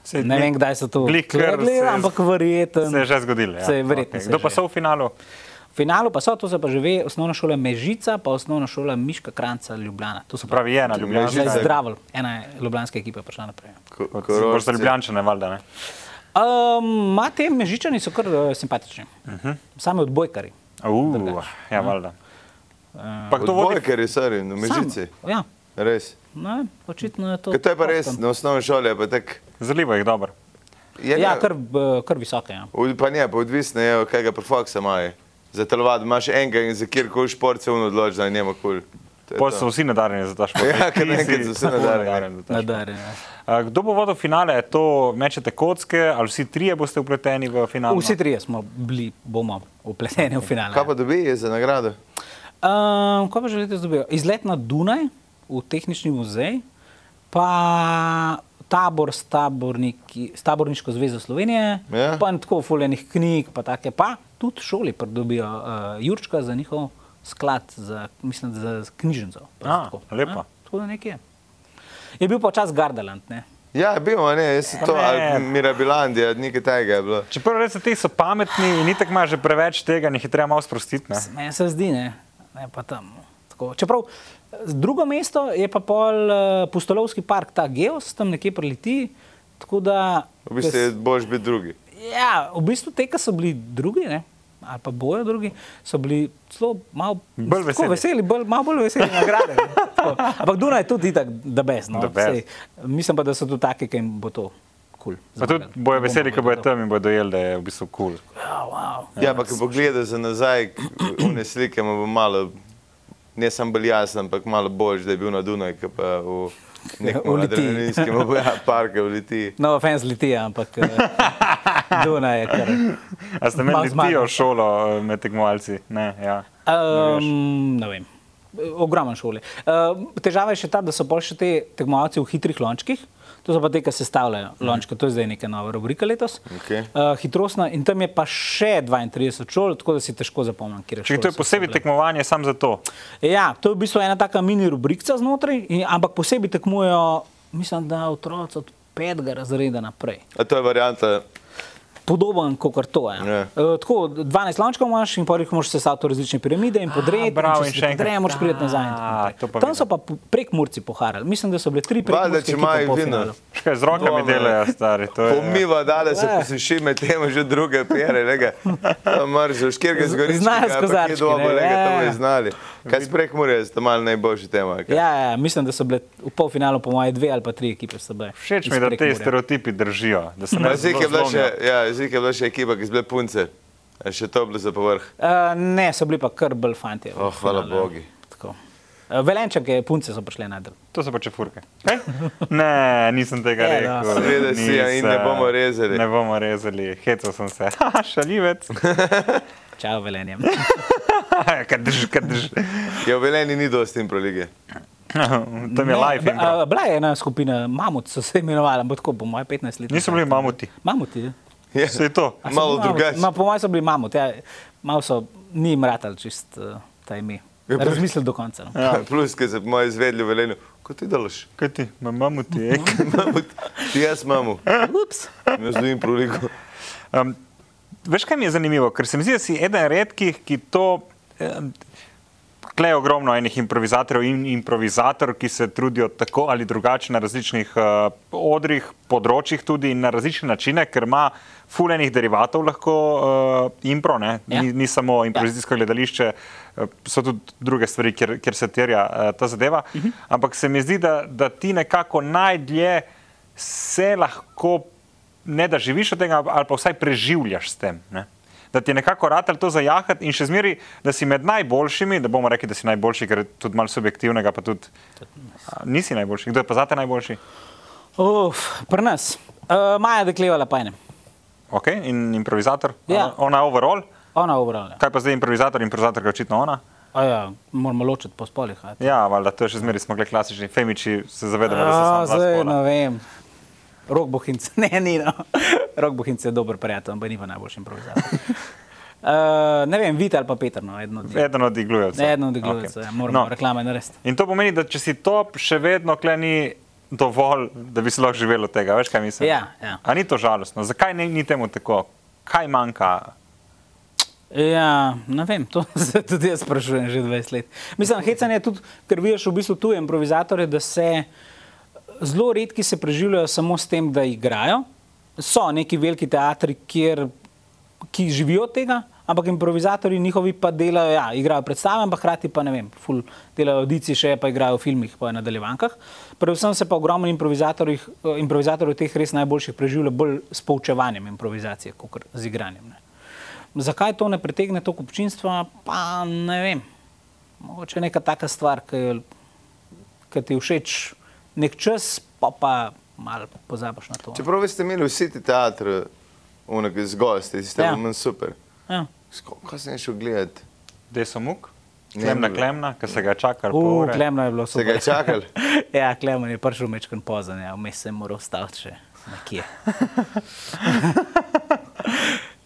[SPEAKER 3] Se-
[SPEAKER 2] ne vem, kdaj so to
[SPEAKER 3] Glih kar se
[SPEAKER 2] rekli,
[SPEAKER 3] je-
[SPEAKER 2] ampak verjetno.
[SPEAKER 3] Se je že zgodilo. Ja.
[SPEAKER 2] Se je verjetno.
[SPEAKER 3] Okej.
[SPEAKER 2] se je
[SPEAKER 3] Kdo pa
[SPEAKER 2] že.
[SPEAKER 3] so v finalu?
[SPEAKER 2] V finalu pa so, to se pa že ve, osnovna šola Mežica, pa osnovna šola Miška Kranca Ljubljana. To so
[SPEAKER 3] Pravi, ena
[SPEAKER 1] Mežica
[SPEAKER 3] ljubljanska.
[SPEAKER 1] je-
[SPEAKER 2] Zdravo, ena je ljubljanska ekipa prišla naprej.
[SPEAKER 3] Boš za ljubljančane, valjda ne.
[SPEAKER 2] Um, ma te mežičani so kar uh, simpatični. Uh -huh. Sami odbojkari.
[SPEAKER 3] Uh, ja, valjda.
[SPEAKER 2] Eh,
[SPEAKER 3] Pa kdo vodi?
[SPEAKER 1] Odbojkari, sorry, na mežici.
[SPEAKER 2] Sam, ja,
[SPEAKER 1] Res.
[SPEAKER 2] no, očitno je to.
[SPEAKER 1] Ker to je pa res,
[SPEAKER 2] pošten.
[SPEAKER 1] na osnovni šoli je pa tak.
[SPEAKER 3] Zalivo jih dobro.
[SPEAKER 1] Je,
[SPEAKER 2] Ja,
[SPEAKER 1] ne,
[SPEAKER 2] kar, eh, kar visoke. Ja.
[SPEAKER 1] od- Pa ne, pa odvisno je, kaj ga profoksa imajo. Za telovado imaš enega in za kjerkoli šport se uno odloči, da je njemu kul. To je
[SPEAKER 3] Pol
[SPEAKER 1] to.
[SPEAKER 3] so vsi nadarjeni za ta šport.
[SPEAKER 1] Ja, kar
[SPEAKER 3] Ti si
[SPEAKER 1] naenkrat so vsi
[SPEAKER 3] tako
[SPEAKER 1] nadarjeni.
[SPEAKER 3] nadarjen za ta šport.
[SPEAKER 2] Nadarjen. ja.
[SPEAKER 3] A, Eh, Kdo bo vodil finale, Je to mečete kocke ali vsi trije boste upleteni v finale? no?
[SPEAKER 2] Vsi trije smo bili, bomo upleteni v finale.
[SPEAKER 1] Kaj pa dobi za nagrado?
[SPEAKER 2] Um, kaj pa želite zdobiti? Izlet na Dunaj, v tehnični muzej, pa tabor s, taborniki, s taborniško zvezo Slovenije,
[SPEAKER 1] Ja.
[SPEAKER 2] pa en tako fuljenih knjig, pa take, pa tudi šoli pridobijo uh, Jurčka za njihov sklad, za, mislim, da za knjižnico. pa
[SPEAKER 3] A,
[SPEAKER 2] tako,
[SPEAKER 3] lepo.
[SPEAKER 2] Ja, tako da nekje. Je bil pa čas Gardaland, ne?
[SPEAKER 1] Ja, je bil, a ne, jaz sem to,
[SPEAKER 3] Ne.
[SPEAKER 1] ali Mirabilandija, nekaj tega je bilo.
[SPEAKER 3] Čeprav res ti so pametni in itak imaš že preveč tega, njih je treba malo sprostiti. Ne?
[SPEAKER 2] Se- Meni se zdi, ne, ne pa tam. Tako. Čeprav eh, drugo mesto je pa pol uh, Pustolovski park, ta Geos, tam nekje preleti. tako Da,
[SPEAKER 1] V bistvu je
[SPEAKER 2] kes-
[SPEAKER 1] boš biti drugi.
[SPEAKER 2] ja, v bistvu te, ki so bili drugi, ne, ali pa bojo drugi, so bili zelo malo
[SPEAKER 3] Bolj
[SPEAKER 2] tako
[SPEAKER 3] veseli.
[SPEAKER 2] veseli bolj, malo bolj veseli nagrade. ne, tako. Ampak Dunaj je tudi tako, da bez. No,
[SPEAKER 3] The best.
[SPEAKER 2] saj, mislim pa, da so tu taki, ki jim bo to kul.
[SPEAKER 3] Pa tudi bojo veseli, ko bojo tam in bodo dojeli, da je v bistvu kul. Cool.
[SPEAKER 2] Ja, wow.
[SPEAKER 1] Ja, pa ko pogledaš za nazaj, k- one slike mu bo malo, ne samo bolj jasno, ampak malo bolj, da je bil na Dunaj, kot pa v nekem
[SPEAKER 2] V Litiji.
[SPEAKER 1] adrenalinskem ja, parku v Litiji.
[SPEAKER 2] No, offense leti, ampak eh, Dunaj je kar.
[SPEAKER 3] A ste imeli
[SPEAKER 2] Malo
[SPEAKER 3] tijo
[SPEAKER 2] zmagal.
[SPEAKER 3] šolo eh, med tekmovalci? Ne, ja.
[SPEAKER 2] Um, ne vem. Ogromen šole. Uh, težava je še ta, da so bolj še te tekmovalci v hitrih lončkih. To so pa te, ki sestavljajo lončke, to je zdaj neka nova rubrika letos.
[SPEAKER 1] Okej.
[SPEAKER 2] Uh, hitrostna in tam je pa še 32 šol, tako da si težko zapomnim, kje je
[SPEAKER 3] Če to je posebej tekmovanje, sam za to.
[SPEAKER 2] Ja, to je v bistvu ena taka mini rubrika znotraj, in, ampak posebej tekmujejo, mislim, da otroci od petega razreda naprej.
[SPEAKER 1] A to je varianta,
[SPEAKER 2] Podoben kot to. Ja.
[SPEAKER 1] Ja.
[SPEAKER 2] Yeah. Uh, tako, 12 lončkov imaš in pojdi, moraš sestaviti v različne piramide in podrejati.
[SPEAKER 3] bravo, in še enkrat.
[SPEAKER 2] Podreje, moraš priti nazaj. in tako
[SPEAKER 3] A,
[SPEAKER 2] naprej.
[SPEAKER 3] to pa
[SPEAKER 2] Tam
[SPEAKER 3] vidim.
[SPEAKER 2] so pa prek Murci poharali. Mislim, da so bile tri prek.
[SPEAKER 1] valjda, če imajo vino.
[SPEAKER 3] Še kaj z rokami
[SPEAKER 1] Dvome.
[SPEAKER 3] delajo, stari. to je-
[SPEAKER 1] Pomiva, dale se
[SPEAKER 2] Ja.
[SPEAKER 1] posuši, med tem že druge pere, lega. Mrzel, škirga
[SPEAKER 2] Z-
[SPEAKER 1] zgori.
[SPEAKER 2] znajo s kozarčki,
[SPEAKER 1] Dobro,
[SPEAKER 2] ne,
[SPEAKER 1] lega,
[SPEAKER 2] ja,
[SPEAKER 1] to
[SPEAKER 2] ja.
[SPEAKER 1] bi znali. Kaj sprek morajo, sta malo najboljši tema. ali kaj?
[SPEAKER 2] Ja, ja, mislim, da so bile v polfinalu, po moje, dve ali pa tri ekipe. so bile iz
[SPEAKER 3] Všeč mi je, da te
[SPEAKER 2] Prekmurja.
[SPEAKER 3] stereotipi držijo. Da se ne
[SPEAKER 1] Jezik je bila
[SPEAKER 3] zelo
[SPEAKER 1] še,
[SPEAKER 3] zlomijo.
[SPEAKER 1] ja, jezik je bila še ekipa, ki so bile punce. A Še to bilo za povrh.
[SPEAKER 2] Uh, ne, so bili pa kar bolj fanti.
[SPEAKER 1] Oh, hvala bogu.
[SPEAKER 2] Uh, Velenčake, punce so prišle na del.
[SPEAKER 3] To so pa čefurke. Kaj? Ne, nisem tega
[SPEAKER 2] Ja,
[SPEAKER 3] rekel.
[SPEAKER 2] da.
[SPEAKER 1] Seveda si, ja, in ne
[SPEAKER 3] nisem.
[SPEAKER 1] bomo rezali.
[SPEAKER 3] Ne bomo rezali, hecal sem se. Haha, Šaljivec.
[SPEAKER 2] Čau, velenjem.
[SPEAKER 3] Kaj drž, kaj drž.
[SPEAKER 1] Je Ja, v Veleni ni dosti impro lige.
[SPEAKER 3] Tam je live.
[SPEAKER 2] Ne,
[SPEAKER 3] intro.
[SPEAKER 2] a, E, Bila je ena skupina, mamut so se imenovali, ampak tako po moje 15 let.
[SPEAKER 3] Niso bili mamuti.
[SPEAKER 2] Mamuti. ja.
[SPEAKER 1] Ja.
[SPEAKER 3] Saj to.
[SPEAKER 2] A so
[SPEAKER 1] Malo
[SPEAKER 2] bili mamuti?
[SPEAKER 1] drugače.
[SPEAKER 2] Ma, po mojem so bili mamuti, ja, malo so, ni jim ratal čist uh, ta ime.
[SPEAKER 1] Ja, pa-
[SPEAKER 2] Razmislil do konca. No.
[SPEAKER 1] Ja. Plus, ki se moji izvedli v Velenu, kot ti delaš.
[SPEAKER 3] Kaj ti, Ma mamuti je.
[SPEAKER 1] Mamu, ti jaz imamo,
[SPEAKER 2] Ups.
[SPEAKER 1] jaz doim pro ligo.
[SPEAKER 3] Um, veš, kaj mi je zanimivo, ker se mi zdi, da si eden redkih, ki to. Um, Klej je ogromno enih improvizatorjev in improvizatorjev, ki se trudijo tako ali drugače na različnih uh, odrih, področjih tudi in na različne načine, ker ima fulejnih derivatov lahko uh, impro, ne?
[SPEAKER 2] Ja.
[SPEAKER 3] Ni, ni samo improvizijsko gledališče, eh, so tudi druge stvari, kjer, kjer se terja eh, ta zadeva. Uh
[SPEAKER 2] Mhm.
[SPEAKER 3] -huh. Ampak se mi zdi, da, da ti nekako najdlje se lahko, ne da živiš od tega, ali pa vsaj preživljaš s tem. Ne? Da ti je nekako ratelj to zajahati in še zmeri, da si med najboljšimi, da bomo rekli, da si najboljši, ker je tudi malo subjektivnega, pa tudi a, nisi najboljši. Kdo je pa zate najboljši?
[SPEAKER 2] Uf, pri nas. Uh, Maja deklevala pajne.
[SPEAKER 3] Ok, in improvizator,
[SPEAKER 2] Ja.
[SPEAKER 3] ona, ona overall.
[SPEAKER 2] Ona obrala.
[SPEAKER 3] Kaj pa zdaj improvizator, improvizator je očitno ona.
[SPEAKER 2] Ja, moramo ločiti po spolih. a?
[SPEAKER 3] Ja, valjda, to je še zmeraj smo bili klasični, femiči se zavedamo, da se
[SPEAKER 2] A,
[SPEAKER 3] samo
[SPEAKER 2] Ja, Zdaj,
[SPEAKER 3] zdaj.
[SPEAKER 2] ne vem. Rok Bohinc, ne, ni no. Rok Bohinc je dober prijatelj, ampak ni pa najboljši improvizator. Uh, ne vem, Vita ali pa Peter, no, eno od njih.
[SPEAKER 3] Eden od iglujevcev.
[SPEAKER 2] Ne, eno od gledalcev, okay. moramo no. reklame narediti.
[SPEAKER 3] In to pomeni, da če si top, še vedno kle ni dovolj, da bi se lahko živelo od tega. Veš, kaj mislim?
[SPEAKER 2] Ja, ja.
[SPEAKER 3] A ni to žalostno? Zakaj ni, ni temu tako? Kaj manjka?
[SPEAKER 2] Ja, ne vem, to se tudi jaz sprašujem že 20 let. Mislim, hecanje je tudi, ker vidiš v bistvu tuje improvizatorje, da se zelo redki se preživljajo samo s tem, da igrajo. So neki veliki teatri, kjer, ki živijo od tega, ampak improvizatori njihovi pa delajo, ja, igrajo predstave, ampak hkrati pa ne vem, ful delajo audicije, še pa igrajo v filmih, pa nadaljevankah. Predvsem se pa ogromno improvizatorjih- eh, improvizatorjev, teh res najboljših, preživlja bolj s poučevanjem improvizacije, kot z igranjem. Ne. Zakaj to ne pritegne toliko občinstva, pa ne vem. Mogoče je neka taka stvar, ki, jo- ki ti je všeč nek čas, pa pa malo pozabiš na to.
[SPEAKER 1] Čeprav vi ste imeli vsi ti teatr, unak z gosti, ste
[SPEAKER 2] Ja.
[SPEAKER 1] ja. meni super.
[SPEAKER 2] Ja.
[SPEAKER 1] Sko- Kaj sem šel gledati?
[SPEAKER 3] Deso muk?
[SPEAKER 1] Ne
[SPEAKER 3] Klemna,
[SPEAKER 1] bi bilo.
[SPEAKER 3] klemna, ki se ga čaka.
[SPEAKER 2] Uh, Klemno je bilo
[SPEAKER 1] Ste ga
[SPEAKER 2] super.
[SPEAKER 1] čakali?
[SPEAKER 2] ja, Klemno je prišel mečkan pozan, ja, vmes se je moral staviti še nekje.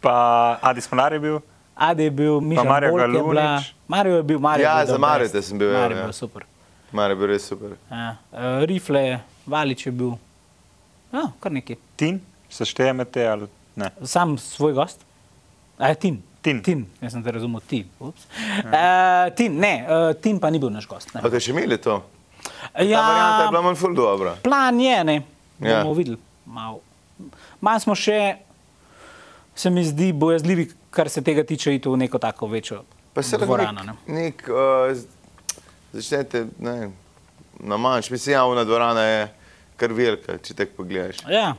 [SPEAKER 3] Pa Adis Monar je bil.
[SPEAKER 2] Adi je bil, Miša
[SPEAKER 3] Mario
[SPEAKER 2] Bolj, ki je bila,
[SPEAKER 3] Galunič.
[SPEAKER 2] Mario je bil, Mario
[SPEAKER 1] Ja,
[SPEAKER 2] je bil
[SPEAKER 1] za
[SPEAKER 2] the
[SPEAKER 1] Mario
[SPEAKER 2] best.
[SPEAKER 1] te sem bil, ja,
[SPEAKER 2] Mario je
[SPEAKER 1] ja.
[SPEAKER 2] bil super.
[SPEAKER 1] Mare, bil res super.
[SPEAKER 2] Ja. Uh, Rifle, Valič je bil, ja, kar nekaj.
[SPEAKER 3] Tin, se šteje med te ali ne?
[SPEAKER 2] sam svoj gost. A je Tim.
[SPEAKER 3] Tin.
[SPEAKER 2] Tim. Jaz sem te razumel, ti.
[SPEAKER 1] Ja.
[SPEAKER 2] Uh, tin, ne, uh, Tim pa ni bil naš gost. Ne.
[SPEAKER 1] A ste še imeli to? Ta varianta je bila
[SPEAKER 2] Ja,
[SPEAKER 1] manj ful dobra.
[SPEAKER 2] plan je, ne.
[SPEAKER 1] Ja.
[SPEAKER 2] Bomo videli. Malo Mal smo še, se mi zdi, bojazljivi, kar se tega tiče, iti v neko tako večjo
[SPEAKER 1] Pa se lahko
[SPEAKER 2] dvorano. Ne.
[SPEAKER 1] nek, nek uh, z- začnete ne, vem, na manjši, mislim, javna dvorana je kar velika, če tako pogledaš.
[SPEAKER 2] Ja.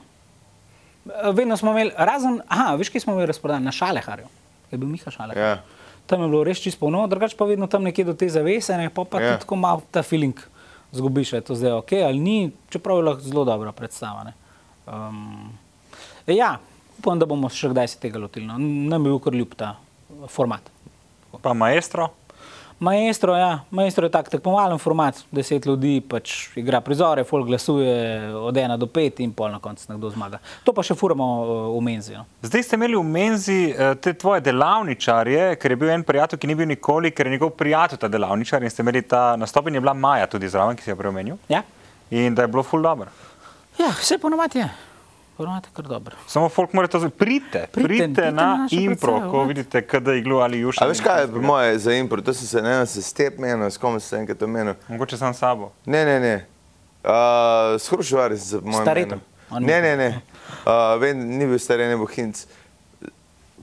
[SPEAKER 2] Eh, Vedno smo imeli, razen, aha, veš, kje smo imeli razprodan, na Šaleharju, je bil Miha Šalehar.
[SPEAKER 1] Ja.
[SPEAKER 2] Tam je bilo res čisto polno, drugače pa vedno tam nekje do te zavese, ne, pa, pa
[SPEAKER 1] Ja.
[SPEAKER 2] ja. tako malo ta feeling zgubiš, a je to zdaj ok ali ni, čeprav je lahko zelo dobra predstava. ne. Um, ja, upam, da bomo še kdaj se tega lotili. No. Nam je bil kar ljub ta eh, format.
[SPEAKER 3] Pa maestro.
[SPEAKER 2] Maestro, ja, maestro je tak tekmovalen format, deset ljudi pač igra prizore, folk glasuje od ena do pet in pol na koncu nekdo zmaga. To pa še furamo eh, v menzi. No.
[SPEAKER 3] Zdaj ste imeli v menzi eh, te tvoje delavničarje, ker je bil en prijatelj, ki ni bil nikoli, ker je njegov prijatelj ta delavničar in ste imeli ta nastop in je bila Maja tudi zraven, ki si jo preomenil.
[SPEAKER 2] Ja?
[SPEAKER 3] In da je bilo ful dobro.
[SPEAKER 2] Ja, vse ponovadi je. Ponovadi je kar dobro.
[SPEAKER 3] Samo folk mora to zvedeti. Pridite,
[SPEAKER 2] Pridite,
[SPEAKER 3] pridite,
[SPEAKER 2] pridite
[SPEAKER 3] pridite
[SPEAKER 2] na
[SPEAKER 3] na
[SPEAKER 2] našo
[SPEAKER 3] impro,
[SPEAKER 2] predstavo,
[SPEAKER 3] ko
[SPEAKER 2] ja.
[SPEAKER 3] vidite, kada iglo ali juša.
[SPEAKER 1] A veš kaj je po moje za impro? To sem se ne vem, se step menil, s kom sem se enkrat omenil.
[SPEAKER 3] Mogoče sam s sabo.
[SPEAKER 1] Ne, ne, ne. Uh, Skrušovar se po mojem.
[SPEAKER 2] Staretom.
[SPEAKER 1] menil.
[SPEAKER 2] On
[SPEAKER 1] Ne,
[SPEAKER 2] ni-
[SPEAKER 1] ne, ne. Uh, vem, ni bil stare nebo Hinc.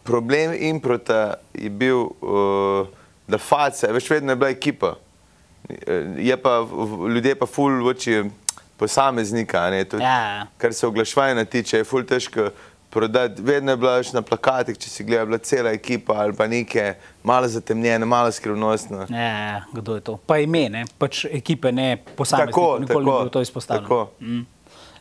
[SPEAKER 1] Problem improta je bil, uh, da face, veš, vedno je bila ekipa. Eh, Je pa, v- v- ljudje pa ful oči posameznika, a ne, tudi,
[SPEAKER 2] Ja, ja.
[SPEAKER 1] kar se oglaševanja tiče, je ful težko prodati. Vedno je bila še na plakatih, če si gledal, je bila cela ekipa ali pa neke, malo zatemnjene, malo skrivnostne.
[SPEAKER 2] Ja, ja, ja, kdo je to? Pa ime, ne? pač ekipe, ne posameznik.
[SPEAKER 1] Tako,
[SPEAKER 2] Nikoli ni
[SPEAKER 1] tako,
[SPEAKER 2] bilo to izpostavljeno.
[SPEAKER 1] tako.
[SPEAKER 2] Mm.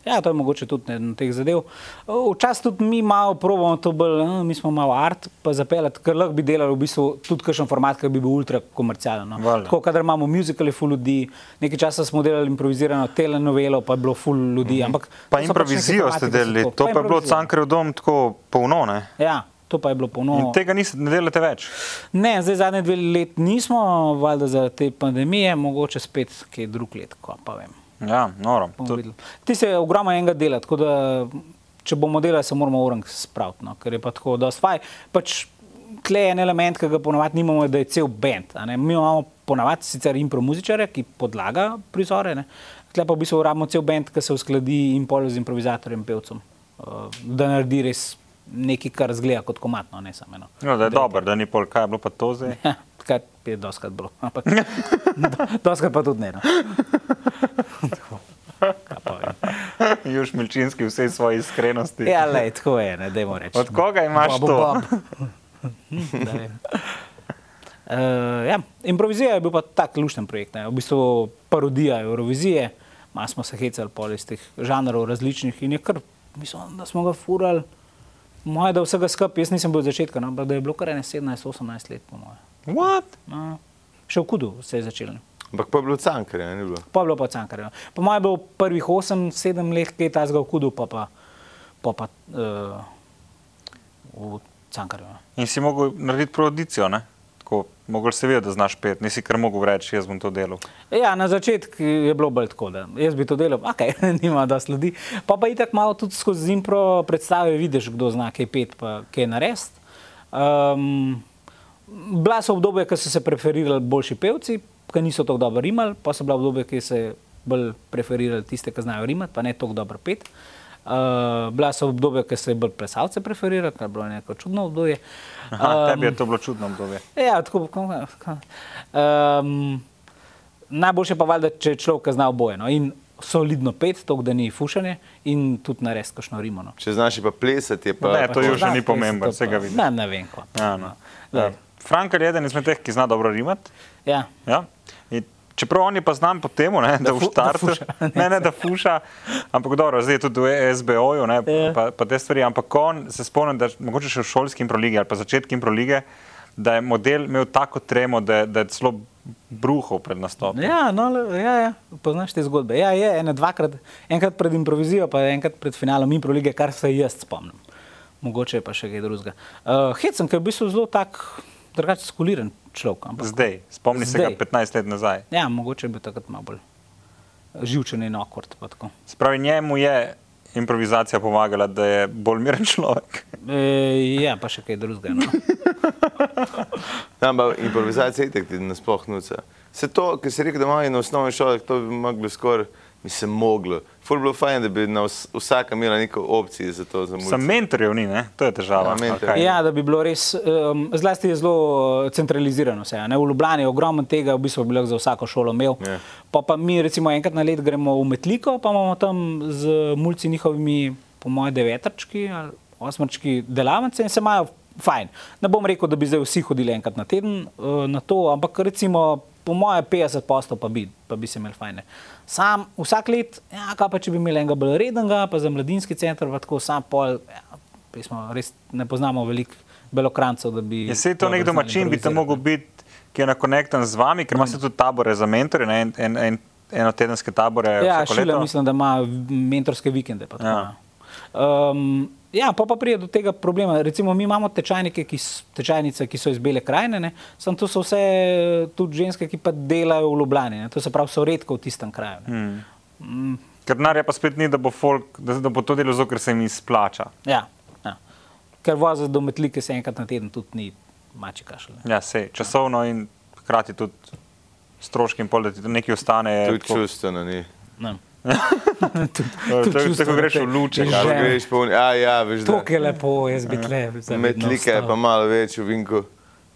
[SPEAKER 2] Ja, to je mogoče tudi ena teh zadev. Včasih tudi mi malo probujemo to bolj, eh, mi smo malo art, pa zapeljati, ker lahko bi delali v bistvu tudi kakšen format, ki bi bil ultra komercialen. No.
[SPEAKER 3] Valjda.
[SPEAKER 2] Tako, kadar imamo muzikale, full ljudi, nekaj časa smo delali improvizirano telenovelo, pa je bilo full
[SPEAKER 3] Mhm.
[SPEAKER 2] ljudi. Mm -hmm.
[SPEAKER 3] Pa improvizijo ste delali, to pa je bilo Cankarjev dom tako polno, ne?
[SPEAKER 2] Ja, to pa je bilo polno.
[SPEAKER 3] In tega niste, ne delate več.
[SPEAKER 2] Ne, zdaj zadnje dve leti nismo, valjda zaradi te pandemije, mogoče spet kaj drug let, ko pa vem.
[SPEAKER 3] Ja, noro.
[SPEAKER 2] bomo
[SPEAKER 3] To-
[SPEAKER 2] videli. Ti se je ogromno enega dela, tako da če bomo delali, se moramo urang spraviti, no, ker je pa tako dosti faj. Pač tle je en element, ki ga ponavadi nimamo, da je cel bend. a ne. Mi imamo ponavadi sicer impro muzičare, ki podlaga prizore, ne. tle pa v bistvu rabimo cel bend, ki se uskladi in pol z improvizatorjem, pevcem, eh, da naredi res nekaj, kar zgleda kot komatno, ne samo eno.
[SPEAKER 3] No, da je dobro, da ni pol, kaj je bilo pa to zdaj.
[SPEAKER 2] Ja, Kar je doskrat bilo, ampak doskrat pa tudi ne. No.
[SPEAKER 3] Juž Milčinski v vsej svoji iskrenosti.
[SPEAKER 2] Ja, lej, tako je, ne dajmo reči.
[SPEAKER 3] Od koga imaš
[SPEAKER 2] Bobu
[SPEAKER 3] to?
[SPEAKER 2] Bob. Da vem. Uh, ja. Improvizija je bil pa tak lušten projekt, ne. v bistvu parodija Eurovizije, malo smo se hecali pol iz teh žanrov različnih in je kar, mislim, da smo ga furali, moje da vsega skupaj, jaz nisem bil od začetka, no, ampak da je bilo kar ene 17-18 let, po moje.
[SPEAKER 3] What?
[SPEAKER 2] No. Še v kudu se je začelo.
[SPEAKER 1] Ampak pa je bilo cankar, ne bilo.
[SPEAKER 2] Pa je bilo pa cankarjev. Po mojem je bilo prvih 8-7 let, ki je ta zgal kudu, pa pa, pa, pa uh, v ja. cankarjev.
[SPEAKER 3] In si mogel narediti provodicijo, ne? Tako, mogel si vedeti, da znaš pet, nisi kar mogel reči, jaz bom to delal.
[SPEAKER 2] Ja, na začetku je bilo bolj tako, da jaz bi to delal, ok, nima da sledi. Pa pa itak malo tudi skozi impro predstave vidiš, kdo zna kaj pet, pa kaj narediti. Um, bila so obdobja, ko so se preferirali boljši pevci, ki niso tako dobro rimali, pa so bila obdobja, ki se bolj preferirali tiste, ki znajo rimati, pa ne tako dobro pet. Uh, bila so obdobja, ko se je bolj plesalce preferirali, kar je bilo neko čudno obdobje.
[SPEAKER 3] Aha,
[SPEAKER 2] Um,
[SPEAKER 3] tebi je to bilo čudno obdobje.
[SPEAKER 2] Ja, tako bo. Um, najboljše pa valjda, če človek zna oboje. No? In solidno pet, to, da ni fušanje, in tudi nares kakšno no. rimono.
[SPEAKER 1] Če znaš je pa plesati, je pa...
[SPEAKER 3] Ne, to
[SPEAKER 1] pa-
[SPEAKER 3] je že ni pomembno, vsega vidim.
[SPEAKER 2] Ne, ne vem. ko.
[SPEAKER 3] Ja, no.
[SPEAKER 2] Lej,
[SPEAKER 3] ja. Frankl je eden izmed teh, ki zna dobro rimati.
[SPEAKER 2] Ja.
[SPEAKER 3] Ja? In Čeprav on je pa znan po tem, ne, da, da
[SPEAKER 2] fu- da
[SPEAKER 3] v štartu
[SPEAKER 2] fuša.
[SPEAKER 3] ne, ne, da fuša, ampak dobro, zdaj je tudi v SBO-ju, ne,
[SPEAKER 2] Ja.
[SPEAKER 3] pa, pa te stvari. Ampak on se spomnim, da mogoče še v šolski improlige ali pa začetki improlige, da je model imel tako tremo, da, je- da je celo bruhal pred nastopom.
[SPEAKER 2] Ja, no, le- ja, ja, poznaš te zgodbe. Ja, je, ene, dvakrat, enkrat pred improvizijo, pa enkrat pred finalom impro lige, kar se jaz spomnim. Mogoče je pa še kaj drugega. Uh, Hecen, ki je v bistvu zelo tak, drugače skuliren človek. ampak-
[SPEAKER 3] Zdaj, spomni se ga
[SPEAKER 2] Zdaj.
[SPEAKER 3] 15 let nazaj.
[SPEAKER 2] Ja, mogoče je bil takrat malo bolj živčen in okord.
[SPEAKER 3] Spravi njemu je improvizacija pomagala, da je bolj miren človek.
[SPEAKER 2] E, ja, pa še kaj drugega. No.
[SPEAKER 1] Ja, Ampak improvizacija je tako, da nasploh nuca. Vse to, kar si rekel, da imajo na osnovni šoli, to bi moglo skoraj, bi se moglo. Ful bilo fajn, da bi na vs- vsaka imela neko opcijo za to zamuditi.
[SPEAKER 3] Sam mentorjev ni, ne? to je težava.
[SPEAKER 1] Ja, mentorjev.
[SPEAKER 3] ali kaj?
[SPEAKER 2] Ja, da bi bilo res, um, zlasti je zelo eh, centralizirano vse. a Ne? V Ljubljani je ogromno tega, v bistvu bi lahko za vsako šolo imel.
[SPEAKER 1] Ja.
[SPEAKER 2] Pa, pa mi recimo enkrat na let gremo v Metliko, pa imamo tam z mulci njihovimi, po moje, devetrčki ali osmrčki delavnice in se imajo fajn. Ne bom rekel, da bi zdaj vsi hodili enkrat na teden eh, na to, ampak recimo po moje 50 postov pa bi, pa bi se imeli fajne. Sam vsak let, ja, kaj pa če bi imeli enega bolj rednega, pa za mladinski center, pa tako sam pol, ja, Mi smo res ne poznamo veliko belokrancev, da bi.
[SPEAKER 3] Ja, Je se to
[SPEAKER 2] dobro
[SPEAKER 3] nek
[SPEAKER 2] znali
[SPEAKER 3] domačin, bi tam
[SPEAKER 2] improvizirati.
[SPEAKER 3] mogel biti, ki je na konektan z vami, ker imate tudi tabore za mentore, ne? en, en, en, enotedenske tabore.
[SPEAKER 2] Ja,
[SPEAKER 3] vsako
[SPEAKER 2] šele
[SPEAKER 3] leto.
[SPEAKER 2] mislim, da ima mentorske vikende. Pa tako,
[SPEAKER 3] Ja.
[SPEAKER 2] ja. Um, ja, pa pa pride do tega problema. Recimo, mi imamo tečajnike, ki, s- tečajnice, ki so iz Bele krajine, ne, samo to so vse
[SPEAKER 3] Hmm.
[SPEAKER 2] eh, tudi ženske, ki pa delajo v Ljubljani, ne, to se pravi, so redko v tistem kraju. Ne. Mm.
[SPEAKER 3] Ker denarja pa spet ni, da bo, folk, da, da bo to delo zato, ker se jim izplača.
[SPEAKER 2] Ja, ja. Ker vozi do metlike se enkrat na teden tudi ni mači kašelj. ne.
[SPEAKER 3] Ja, sej, časovno in hkrati tudi stroški in pol, da ti to nekaj ostane. je
[SPEAKER 1] Tudi
[SPEAKER 3] tako-
[SPEAKER 1] čustveno ni.
[SPEAKER 2] Ne.
[SPEAKER 3] to-
[SPEAKER 2] Tudi
[SPEAKER 3] to, ko
[SPEAKER 2] čustveno
[SPEAKER 3] greš
[SPEAKER 2] te-
[SPEAKER 3] v luče,
[SPEAKER 2] te
[SPEAKER 3] Ja.
[SPEAKER 1] Če
[SPEAKER 2] žene.
[SPEAKER 1] greš po uni, a ja, veš, da
[SPEAKER 2] To je lepo, jaz bi tle. za vedno
[SPEAKER 1] metlika je
[SPEAKER 2] ostal.
[SPEAKER 1] pa malo več v vinku,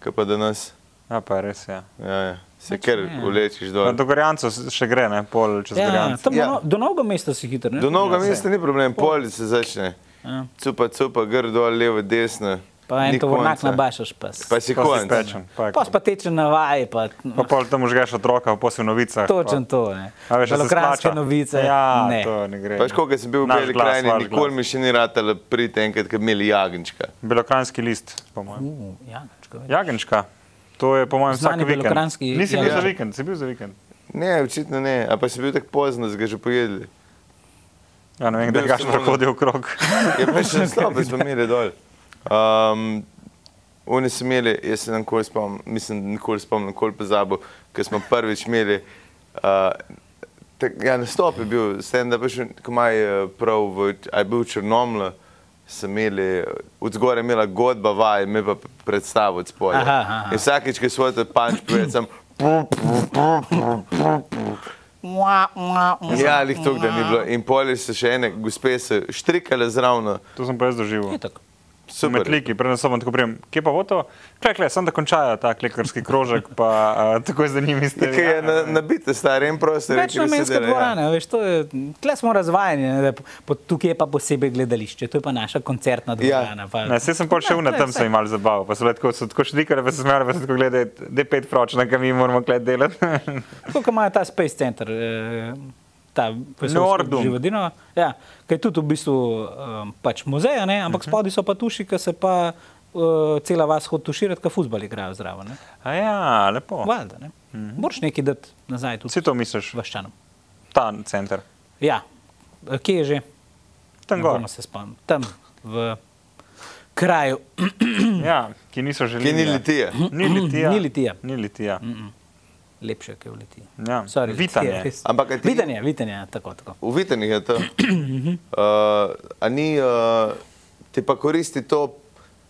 [SPEAKER 1] kot pa danes.
[SPEAKER 3] Ja, pa je res je. Ja.
[SPEAKER 1] Ja, ja. Se ker
[SPEAKER 2] ne.
[SPEAKER 1] ulečiš
[SPEAKER 3] Na
[SPEAKER 1] dol.
[SPEAKER 3] Dogorjancu še gre, ne pol čez
[SPEAKER 2] Ja,
[SPEAKER 3] Dogorjance.
[SPEAKER 2] tam
[SPEAKER 1] Ja.
[SPEAKER 2] do no- do novega mesta si hiter. ne?
[SPEAKER 1] Do novega
[SPEAKER 3] Ja, saj.
[SPEAKER 1] mesta ni problem, polje se začne.
[SPEAKER 2] Ja.
[SPEAKER 1] Cupa, cupa, gor dol, levo, desno.
[SPEAKER 2] Pa en
[SPEAKER 1] Ni
[SPEAKER 2] tovornjak
[SPEAKER 1] konca.
[SPEAKER 2] nabašaš pa. s-
[SPEAKER 1] Pa si
[SPEAKER 3] Pa si
[SPEAKER 1] konc.
[SPEAKER 3] tečen, pa je
[SPEAKER 2] Pa pa teče na vaji. Pa, no,
[SPEAKER 3] Pa pol tam užgeš otroka, pa si v novicah.
[SPEAKER 2] točen
[SPEAKER 3] pa-
[SPEAKER 2] to. ne.
[SPEAKER 3] A veš, da se
[SPEAKER 2] Belokranjske
[SPEAKER 3] splača.
[SPEAKER 2] novice.
[SPEAKER 3] Ja,
[SPEAKER 2] ne.
[SPEAKER 3] to ne gre.
[SPEAKER 1] Pač, ko sem bil v
[SPEAKER 3] Naš
[SPEAKER 1] Beli
[SPEAKER 3] glas,
[SPEAKER 1] krajini,
[SPEAKER 3] vaš
[SPEAKER 1] nikoli
[SPEAKER 3] glas.
[SPEAKER 1] mi še ni ratalo priti enkrat, ko bi imeli jagenčka.
[SPEAKER 3] Belokranjski list, po mojem.
[SPEAKER 2] U, jagenčka,
[SPEAKER 3] Ja.
[SPEAKER 2] veš.
[SPEAKER 3] Jagenčka. To je po mojem
[SPEAKER 2] Mm. Znani
[SPEAKER 3] vsak vikend.
[SPEAKER 2] belokranjski
[SPEAKER 3] Nisi bil
[SPEAKER 1] jagenček.
[SPEAKER 3] za vikend, si bil za vikend.
[SPEAKER 1] Ne, očitno ne. A pa si bil tako pozno, da si ga že pojedli.
[SPEAKER 3] Ja, ne vem,
[SPEAKER 1] Bil
[SPEAKER 3] da gaš
[SPEAKER 1] sem ono-
[SPEAKER 3] prehodi okrog.
[SPEAKER 1] Je pa še slabo, smo imeli dol. Um, Oni so imeli, jaz se nikoli spomnim, mislim, da nikoli spomnim, nikoli pozabo, ker smo prvič imeli. Uh, tak, ja, nastop je bil, sem da pač, ko maj eh, prav, v, a je bil Črnoml, so imeli, eh, od zgore je imela godba vaj, mi pa predstavo od spodaj.
[SPEAKER 2] Aha, aha.
[SPEAKER 1] In vsakič, ko svoj ta panč pove, sem,
[SPEAKER 2] Mua, mua, mua.
[SPEAKER 1] ja, ali to, da ni bilo. In polje so še ene, gospe so štrikale zraven,
[SPEAKER 3] To sem pa jaz doživel.
[SPEAKER 2] Itak.
[SPEAKER 1] super.
[SPEAKER 3] Metliki, pred sobom tako prijem, kje pa bo to? Klej, klej, sem da končajo ta klekarski krožek, pa uh, tako z njimi ste. ja,
[SPEAKER 1] Nekaj Ja, je na- nabite, stari, en prostor. je, kjer
[SPEAKER 2] Večnamenska
[SPEAKER 1] sedele, ja.
[SPEAKER 2] dvorana, veš, to je, tle smo razvajeni, ne, da je po- po- tukaj je pa posebej gledališče, to je pa naša koncertna dvorana. Pa,
[SPEAKER 3] Ja. Ne, saj sem pol še
[SPEAKER 2] Ja,
[SPEAKER 3] v
[SPEAKER 2] to
[SPEAKER 3] na
[SPEAKER 2] je
[SPEAKER 3] tem
[SPEAKER 2] vse.
[SPEAKER 3] se jim malo zabaval, pa so bile tako, so tako štrikale, pa so smele, pa so tako gledali, da je pet pročna, kam mi moramo klej delati.
[SPEAKER 2] Tako kot ima ta Space Center, eh, ta
[SPEAKER 3] Nordum.
[SPEAKER 2] Živodino, ja, ki je tudi v bistvu um, pač muzej, a ne,
[SPEAKER 3] Mhm.
[SPEAKER 2] ampak uh -huh. spodaj so pa tuši, ki se pa uh, cela vas hod tuširati, ki fuzbal igrajo zraven. Ne.
[SPEAKER 3] A ja, lepo.
[SPEAKER 2] Valjda, ne. Uh
[SPEAKER 3] Mhm.
[SPEAKER 2] -huh. Moraš nekaj dati nazaj tudi
[SPEAKER 3] Vsi to misliš,
[SPEAKER 2] vaščanom.
[SPEAKER 3] ta center.
[SPEAKER 2] Ja, Eh, kje je že?
[SPEAKER 3] Tam
[SPEAKER 2] Ne
[SPEAKER 3] gor.
[SPEAKER 2] bom se spomnim. Tam v kraju.
[SPEAKER 3] Ja, ki niso želeli. ja.
[SPEAKER 1] Kje ni litije?
[SPEAKER 3] Ni litija.
[SPEAKER 2] Ni litija.
[SPEAKER 3] Ni litija.
[SPEAKER 2] Lepše, ki uleti.
[SPEAKER 3] Ja, vitanje.
[SPEAKER 1] Ampak a ti-
[SPEAKER 2] Vitanje, vitanje, ja, tako, tako.
[SPEAKER 1] V Vitenih je to. Uh, a ni, uh, ti pa koristi to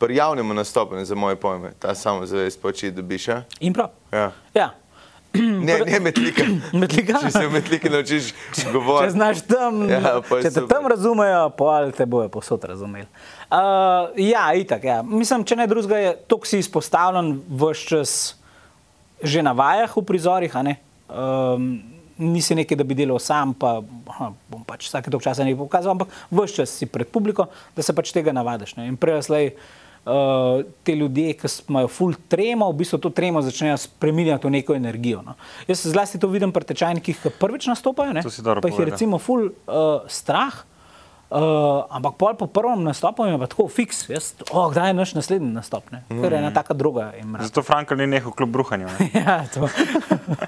[SPEAKER 1] pri javnem nastopu, ne za moje pojme, ta samozavest pa oči dobiš. a?
[SPEAKER 2] In prav.
[SPEAKER 1] Ja.
[SPEAKER 2] Ja.
[SPEAKER 1] Ne, ne metlika.
[SPEAKER 2] torej Metlika?
[SPEAKER 1] Če se v metliki naučiš
[SPEAKER 2] Če
[SPEAKER 1] govoriti.
[SPEAKER 2] znaš tam, ja,
[SPEAKER 1] Ja, pa je
[SPEAKER 2] če te
[SPEAKER 1] super.
[SPEAKER 2] tam razumejo, pa te bojo posod razumeli. Uh, ja, itak. Ja. Mislim, če ne drugega, je tako si izpostavljen vse čas že na vajah v prizorih. a ne. Um, nisi nekaj, da bi delal sam, pa aha, bom pač vsake dolg časa nekaj pokazal, ampak vse čas si pred publiko, da se pač tega navadiš. Ne. In prej ali slej. Uh, te ljudje, ki s- imajo ful tremo, v bistvu to tremo začnejo spreminjati v neko energijo. No. Jaz zlasti to vidim pri tečajnikih, ki prvič nastopajo, ne,
[SPEAKER 3] To si dobro
[SPEAKER 2] pa jih je
[SPEAKER 3] povedal.
[SPEAKER 2] recimo ful uh, strah. Uh, ampak pol po prvem nastopu je pa tako fiks, jaz, oh, kdaj je naš naslednji nastop, ne? ker je
[SPEAKER 3] Mm.
[SPEAKER 2] ena taka druga in mraz.
[SPEAKER 3] Zato Frankl ni nehal kljub bruhanju. ne.
[SPEAKER 2] Ja, to.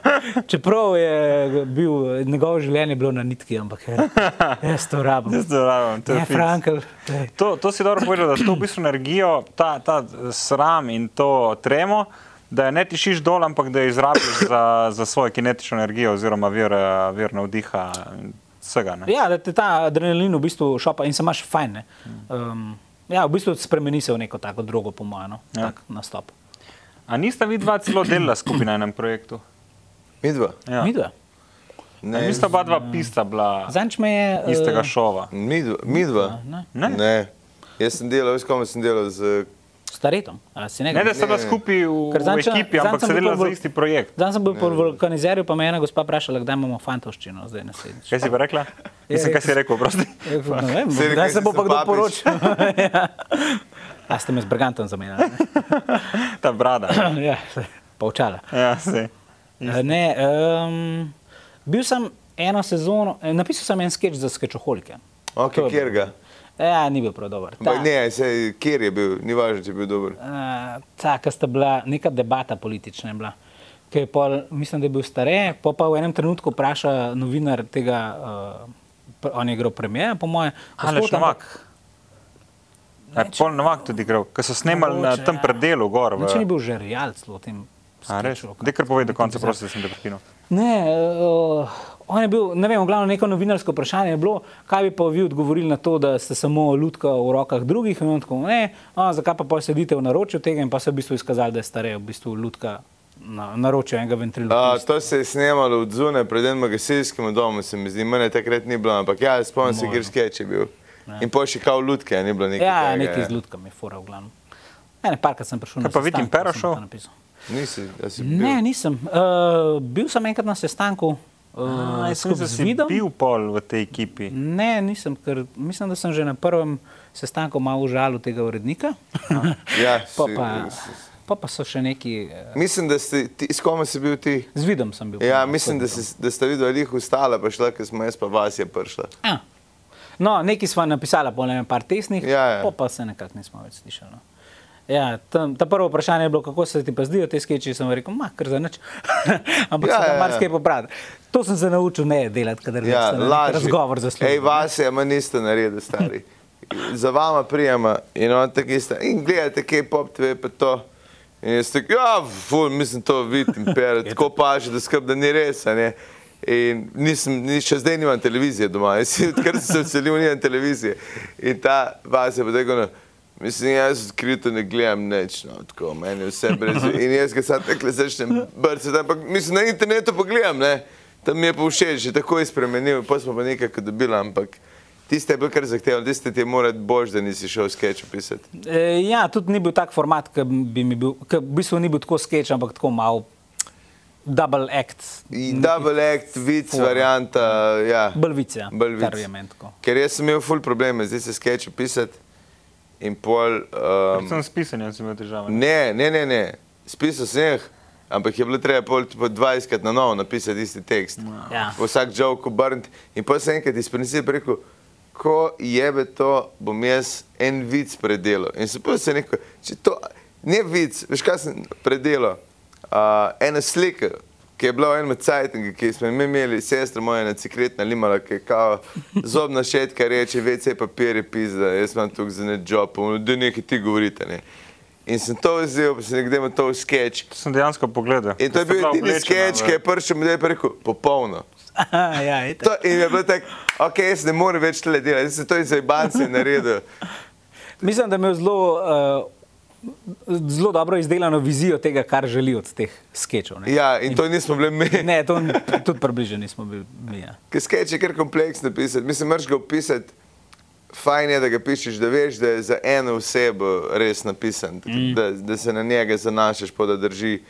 [SPEAKER 2] Čeprav je bil, njegovo življenje bilo na nitki, ampak je, jaz to rabim. Ja,
[SPEAKER 3] Jaz to rabim, to je
[SPEAKER 2] Ne,
[SPEAKER 3] fiks.
[SPEAKER 2] Frankl. daj.
[SPEAKER 3] To, to si dobro povedal, da to v bistvu energijo, ta, ta sram in to tremo, da je ne tišiš dol, ampak da jo izrabiš za, za svojo kinetično energijo oziroma vir, eh, vir navdiha in vsega. Ne?
[SPEAKER 2] Ja, da te ta adrenalin v bistvu šopa in se imaš fajn. ne.
[SPEAKER 3] Mm.
[SPEAKER 2] Um, ja, v bistvu spremeni se v neko tako drugo, po mojem, no,
[SPEAKER 3] Ja.
[SPEAKER 2] ja. tak nastop.
[SPEAKER 3] A nista vidva celo delala skupaj na enem projektu?
[SPEAKER 1] Mi dva.
[SPEAKER 3] Ja.
[SPEAKER 2] Mi dva.
[SPEAKER 3] A
[SPEAKER 1] Ne,
[SPEAKER 3] Nista oba dva pista bila
[SPEAKER 2] Zanč me je. eh,
[SPEAKER 3] istega šova.
[SPEAKER 1] mi dva. Mi dva.
[SPEAKER 2] Ne.
[SPEAKER 3] Ne.
[SPEAKER 1] ne. Jaz sem delal, veš, kom sem delal z
[SPEAKER 2] Staretom, ali si
[SPEAKER 3] Ne,
[SPEAKER 2] nekaj?
[SPEAKER 3] da sta bila skupaj v,
[SPEAKER 2] Ker
[SPEAKER 3] v
[SPEAKER 2] zadnjič-
[SPEAKER 3] ekipi, ampak
[SPEAKER 2] zadnjič sem
[SPEAKER 3] sta
[SPEAKER 2] bil
[SPEAKER 3] delala
[SPEAKER 2] pa
[SPEAKER 3] za
[SPEAKER 2] v-
[SPEAKER 3] isti projekt.
[SPEAKER 2] Zdaj sem bil po vulkanizerju, pa me je ena gospa vprašala, kdaj imamo fantovščino, zdaj naslednjič.
[SPEAKER 3] Kaj si pa rekla? Mislim, kaj si rekel, prosti.
[SPEAKER 2] Ja, Ne vem,
[SPEAKER 1] Se rekel,
[SPEAKER 2] kdaj se
[SPEAKER 1] si
[SPEAKER 2] bo
[SPEAKER 1] sem
[SPEAKER 2] pa kdo
[SPEAKER 1] papež.
[SPEAKER 2] poročil. Ja. A ste me z Brigantom zamenjali?
[SPEAKER 3] Ta brada.
[SPEAKER 2] ja, saj, pa očala.
[SPEAKER 3] Ja, saj.
[SPEAKER 2] Eh, Ne, um, bil sem eno sezono, eh, napisal sem en sketch za sketchoholike.
[SPEAKER 1] Ok,
[SPEAKER 2] To je
[SPEAKER 1] kjer ga.
[SPEAKER 2] Ja, ni bil prav dober. Ta,
[SPEAKER 1] Ampak ne, se, kjer je bil, ni važno, če je bil dober.
[SPEAKER 2] eh, ta, ki sta bila, neka debata politična je bila. ki je Pol, mislim, da je bil stare, pa pa v enem trenutku vpraša novinar tega, uh, on je igral premijer, po moje.
[SPEAKER 3] Aleš
[SPEAKER 2] "Gospod, ampak-
[SPEAKER 3] Novak. Ja, Pol Novak tudi igral, ker so snemali na
[SPEAKER 2] Mogoče,
[SPEAKER 3] tem
[SPEAKER 2] ja.
[SPEAKER 3] predelu gor.
[SPEAKER 2] Nič ni
[SPEAKER 3] V...
[SPEAKER 2] bil že realc v tem.
[SPEAKER 3] A, res?
[SPEAKER 2] skeču,
[SPEAKER 3] Daj kar povej do konca, prosim, da sem te prekinil.
[SPEAKER 2] Ne, eh, On je bil, ne vem, glavno neko novinarsko vprašanje je bilo, kaj bi pa vi odgovorili na to, da ste samo lutka v rokah drugih in on tako, ne, a, zakaj pa pa sedite v naročju tega in pa se je v bistvu izkazali, da je starej v bistvu lutka na naročju enega ventrila.
[SPEAKER 1] A, to se je snemalo od zune, pred enim gasilskim domom, se mi zdi, mene takrat ni bilo, ampak ja, spomnim se, kjer sketch je bil. In pa še kao lutke, ni bilo nekaj.
[SPEAKER 2] Ja,
[SPEAKER 1] takega,
[SPEAKER 2] nekaj z lutkami, fora v glavnem. Ne, parkrat sem prišel na
[SPEAKER 3] Kaj pa Vitim
[SPEAKER 2] sestanek, pa sem
[SPEAKER 3] Pero šel?
[SPEAKER 2] to napisal.
[SPEAKER 1] Nisi, da si bil.
[SPEAKER 2] Ne, nisem. Uh, bil sem enkrat na sestanku
[SPEAKER 1] Ah,
[SPEAKER 2] uh,
[SPEAKER 3] Jaz sem
[SPEAKER 2] skupaj
[SPEAKER 3] se
[SPEAKER 2] z Vidom.
[SPEAKER 3] bil pol v tej ekipi.
[SPEAKER 2] Ne, nisem, ker mislim, da sem že na prvem sestanku malo užalil tega urednika.
[SPEAKER 1] Ja,
[SPEAKER 2] pa,
[SPEAKER 1] si-
[SPEAKER 2] pa,
[SPEAKER 1] si-
[SPEAKER 2] pa, pa so še neki. eh,
[SPEAKER 1] Mislim, da si, ti, s kom si bil ti?
[SPEAKER 2] Z vidom sem bil.
[SPEAKER 1] Ja,
[SPEAKER 2] pomagal,
[SPEAKER 1] mislim, da,
[SPEAKER 2] tako
[SPEAKER 1] si, da sta videla jih ustala, pa šla, ker smo jaz pa vas je prišla.
[SPEAKER 2] to. A. Ja. No, neki smo napisali, pa ne vem, par tesnih,
[SPEAKER 1] Ja, ja.
[SPEAKER 2] pol pa se nekako nismo več slišali. no. Ja, tam, ta prvo vprašanje je bilo, kako se ti pa zdijo te skeči. Sem rekel, ma, kar za nič. Ampak ja,
[SPEAKER 1] Ja,
[SPEAKER 2] se
[SPEAKER 1] ja,
[SPEAKER 2] da
[SPEAKER 1] ja.
[SPEAKER 2] marsikaj popraviti. To sem se naučil ne delati, kadar
[SPEAKER 1] Ja,
[SPEAKER 2] sem
[SPEAKER 1] lažje.
[SPEAKER 2] razgovor
[SPEAKER 1] Ej,
[SPEAKER 2] zaslužil.
[SPEAKER 1] vas je, ma niste naredili, stari. Za vama prijema in on tako isto. In gledate, kaj pop tve pa to. In jaz tako, ja, ful, mislim, to vidim, per, tako paže, da skrb, da ni res, a ne. In nisem, ni, še zdaj nimam televizije doma, jaz si- odkar sem se odselil, nimam televizije. In ta vas je pa tako, no, mislim, jaz odkrito ne gledam nič, no, tako, meni je vse brez. In jaz ga sad takle začnem brcati, ampak mislim, na internetu pa gledam, ne. Tam mi je pa všeč, že tako je spremenil, pa smo pa nekaj dobili, ampak tiste je bilo kar zahtevno, tiste ti je morati bož, da nisi šel sketch pisati.
[SPEAKER 2] E, ja, tudi ni bil tak format, ki bi mi bil, ki v bistvu ni bil tako sketch, ampak tako mal double act.
[SPEAKER 1] Double act, vic,
[SPEAKER 2] Forma.
[SPEAKER 1] varianta, ja.
[SPEAKER 2] Bolvice, ja.
[SPEAKER 1] Bolj vic.
[SPEAKER 2] Kar je meni tako.
[SPEAKER 1] Ker jaz sem imel ful probleme, zdaj se sketch pisati in pol.
[SPEAKER 3] Um,
[SPEAKER 1] Um,
[SPEAKER 3] sem s pisanjem sem imel težave.
[SPEAKER 1] ne, ne, ne, ne, spisal sem jih, ampak je bilo treba pol tipo 20krat na novo napisati isti tekst.
[SPEAKER 2] Ja.
[SPEAKER 1] Pa Vsak žog obrniti in pa sem enkrat iz principa rekel, ko jebe to, bom jaz en vic predelal. In sem pa se rekel, če to ne vic, veš kaj sem predelal, uh, ena slika. Ki je bila v enem cajtniku, ki smo mi imeli, sestra moja, ena sekretna limala, ki je kao zobna šetka, reče, vece papir je pizda, jaz imam tukaj za ne job, ono, da nekaj ti govorite. Ne. In sem to vzel, pa sem nekde imel to v sketch.
[SPEAKER 3] To sem dejansko pogledal.
[SPEAKER 1] In E, to je
[SPEAKER 3] Ker sta
[SPEAKER 1] bil
[SPEAKER 3] bila
[SPEAKER 1] edini
[SPEAKER 3] oblečena
[SPEAKER 1] sketch,
[SPEAKER 3] v-
[SPEAKER 1] ki je prišel mi je rekel, popolno.
[SPEAKER 2] Aha, ja, itak.
[SPEAKER 1] To, in je bilo tako, ok, jaz ne morem več tole delati, jaz sem to iz Ibance naredil.
[SPEAKER 2] Mislim, da je imel zelo, uh, zelo dobro izdelano vizijo tega, kar želi od teh sketchov. Ne,
[SPEAKER 1] Ja, in to nismo bili mi.
[SPEAKER 2] ne to n- tudi približno nismo bili. mi, Ja.
[SPEAKER 1] Ker sketch je kar kompleksno pisati, mislim, moraš ga opisati. Fajn je, da ga pišeš, da veš, da je za eno osebo res napisan, mm. da, da se na njega zanašaš, pa da drži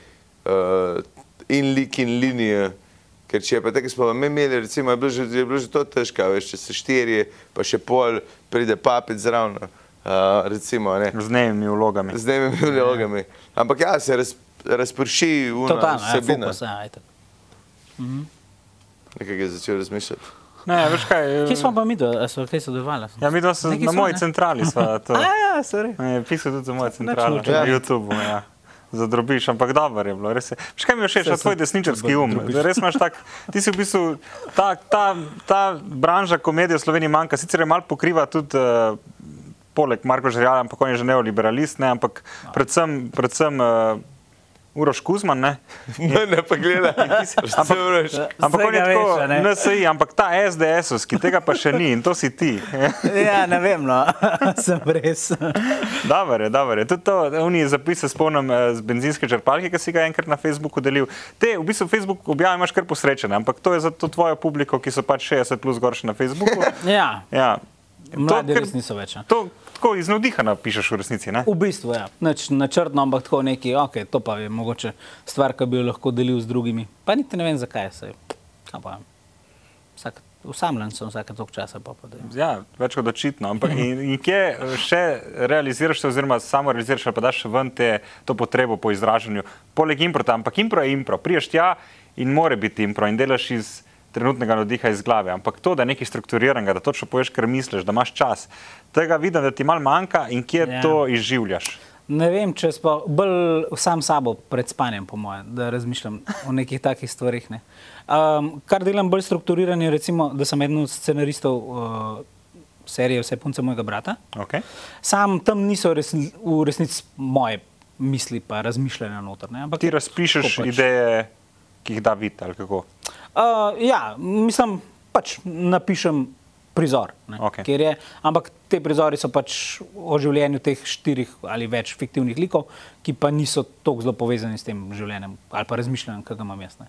[SPEAKER 1] uh, in lik in linije. Ker če je pa tako, kot smo mi imeli, recimo, je bilo že, je bilo že to težko, a veš, če se štirje, pa še pol, pride papet zraven. Uh, recimo, ne.
[SPEAKER 3] Z dnevnimi vlogami.
[SPEAKER 1] z dnevnimi vlogami. Ampak ja, se raz, razprši v
[SPEAKER 2] Totalno, ja,
[SPEAKER 1] vsebino.
[SPEAKER 2] fokus, ja, itak.
[SPEAKER 1] Nekaj je začel razmišljati.
[SPEAKER 3] Ne, veš kaj. eh,
[SPEAKER 2] Kje smo pa mi, da so kaj sodelovali?
[SPEAKER 3] Ja, mi dva smo
[SPEAKER 2] Nekaj
[SPEAKER 3] na
[SPEAKER 2] sva,
[SPEAKER 3] moji
[SPEAKER 2] ne?
[SPEAKER 3] centrali. Sva, to.
[SPEAKER 2] A, ja, sorry.
[SPEAKER 3] Ne, Pisal tudi za mojo centralo
[SPEAKER 2] nočem.
[SPEAKER 3] na YouTubu. Ja. Zadrobiš, ampak dobro je bilo. res je. Veš, kaj mi je všeč, ta tvoj desničarski um. Res imaš tak, ti si v bistvu, ta, ta, ta branža komedije v Sloveniji manjka, sicer je malo pokriva tudi uh, poleg Marko Žerjala, ampak on je že neoliberalist, ne, ampak predvsem, predvsem uh, Uroš Kuzman, ne.
[SPEAKER 1] Ne, pa gleda, ampak moraš.
[SPEAKER 2] eh,
[SPEAKER 3] Ampak on je
[SPEAKER 2] Vsega
[SPEAKER 3] tako,
[SPEAKER 2] veša, ne?
[SPEAKER 3] NSI, ampak ta SDS-ovski, tega pa še ni in to si ti.
[SPEAKER 2] Ja, ne vem, no. sem res.
[SPEAKER 3] Dobar je, dobar je. Tudi to, oni zapise spomnim eh, z benzinske črpalke, ki si ga enkrat na Facebooku delil. Te, v bistvu, Facebook objave imaš kar posrečene, ampak to je za to tvojo publiko, ki so pač 60 plus gor še na Facebooku.
[SPEAKER 2] Ja,
[SPEAKER 3] Ja.
[SPEAKER 2] mladi
[SPEAKER 3] kar-
[SPEAKER 2] res niso več. ja.
[SPEAKER 3] To tako iz navdiha napišeš v resnici, ne?
[SPEAKER 2] V bistvu je ja. Nič načrtno, ampak tako neki, ok, to pa je mogoče stvar, ki bi jo lahko delil z drugimi. Pa niti ne vem, zakaj se. Kaj pa vem. Vsak, usamljen sem vsake tok časa, pa pa da jim.
[SPEAKER 3] Ja, več kot očitno. Ampak in, in kje eh, še realiziraš, to, oziroma samo realiziraš, ali pa daš ven te, to potrebo po izražanju, poleg improta, ampak impro je impro. Priješ tja in more biti impro in delaš iz trenutnega nadiha iz glave. Ampak to, da je nekaj strukturiranega, da točno poješ, kar misliš, da imaš čas, tega vidim, da ti malo manjka in kje
[SPEAKER 2] Ja.
[SPEAKER 3] ja. to izživljaš.
[SPEAKER 2] Ne vem, če sploh, bolj sam sabo pred spanjem, po mojem, da razmišljam o nekih takih stvarih. Ne. Um, kar delam bolj strukturiran je, recimo, da sem eden od scenaristov uh, serije Vse punce mojega brata.
[SPEAKER 3] Okay.
[SPEAKER 2] Sam tam niso res, v resnici moje misli, pa razmišljanja noter. Ne? Ampak
[SPEAKER 3] Ti razpišeš
[SPEAKER 2] tako pač.
[SPEAKER 3] pač. ideje, ki jih da vid ali kako.
[SPEAKER 2] Uh, ja, mislim, pač napišem prizor, ne,
[SPEAKER 3] Okej.
[SPEAKER 2] kjer je, ampak te prizori so pač o življenju teh štirih ali več fiktivnih likov, ki pa niso tako zelo povezani s tem življenjem ali pa razmišljanjem, ki ga imam jaz. ne.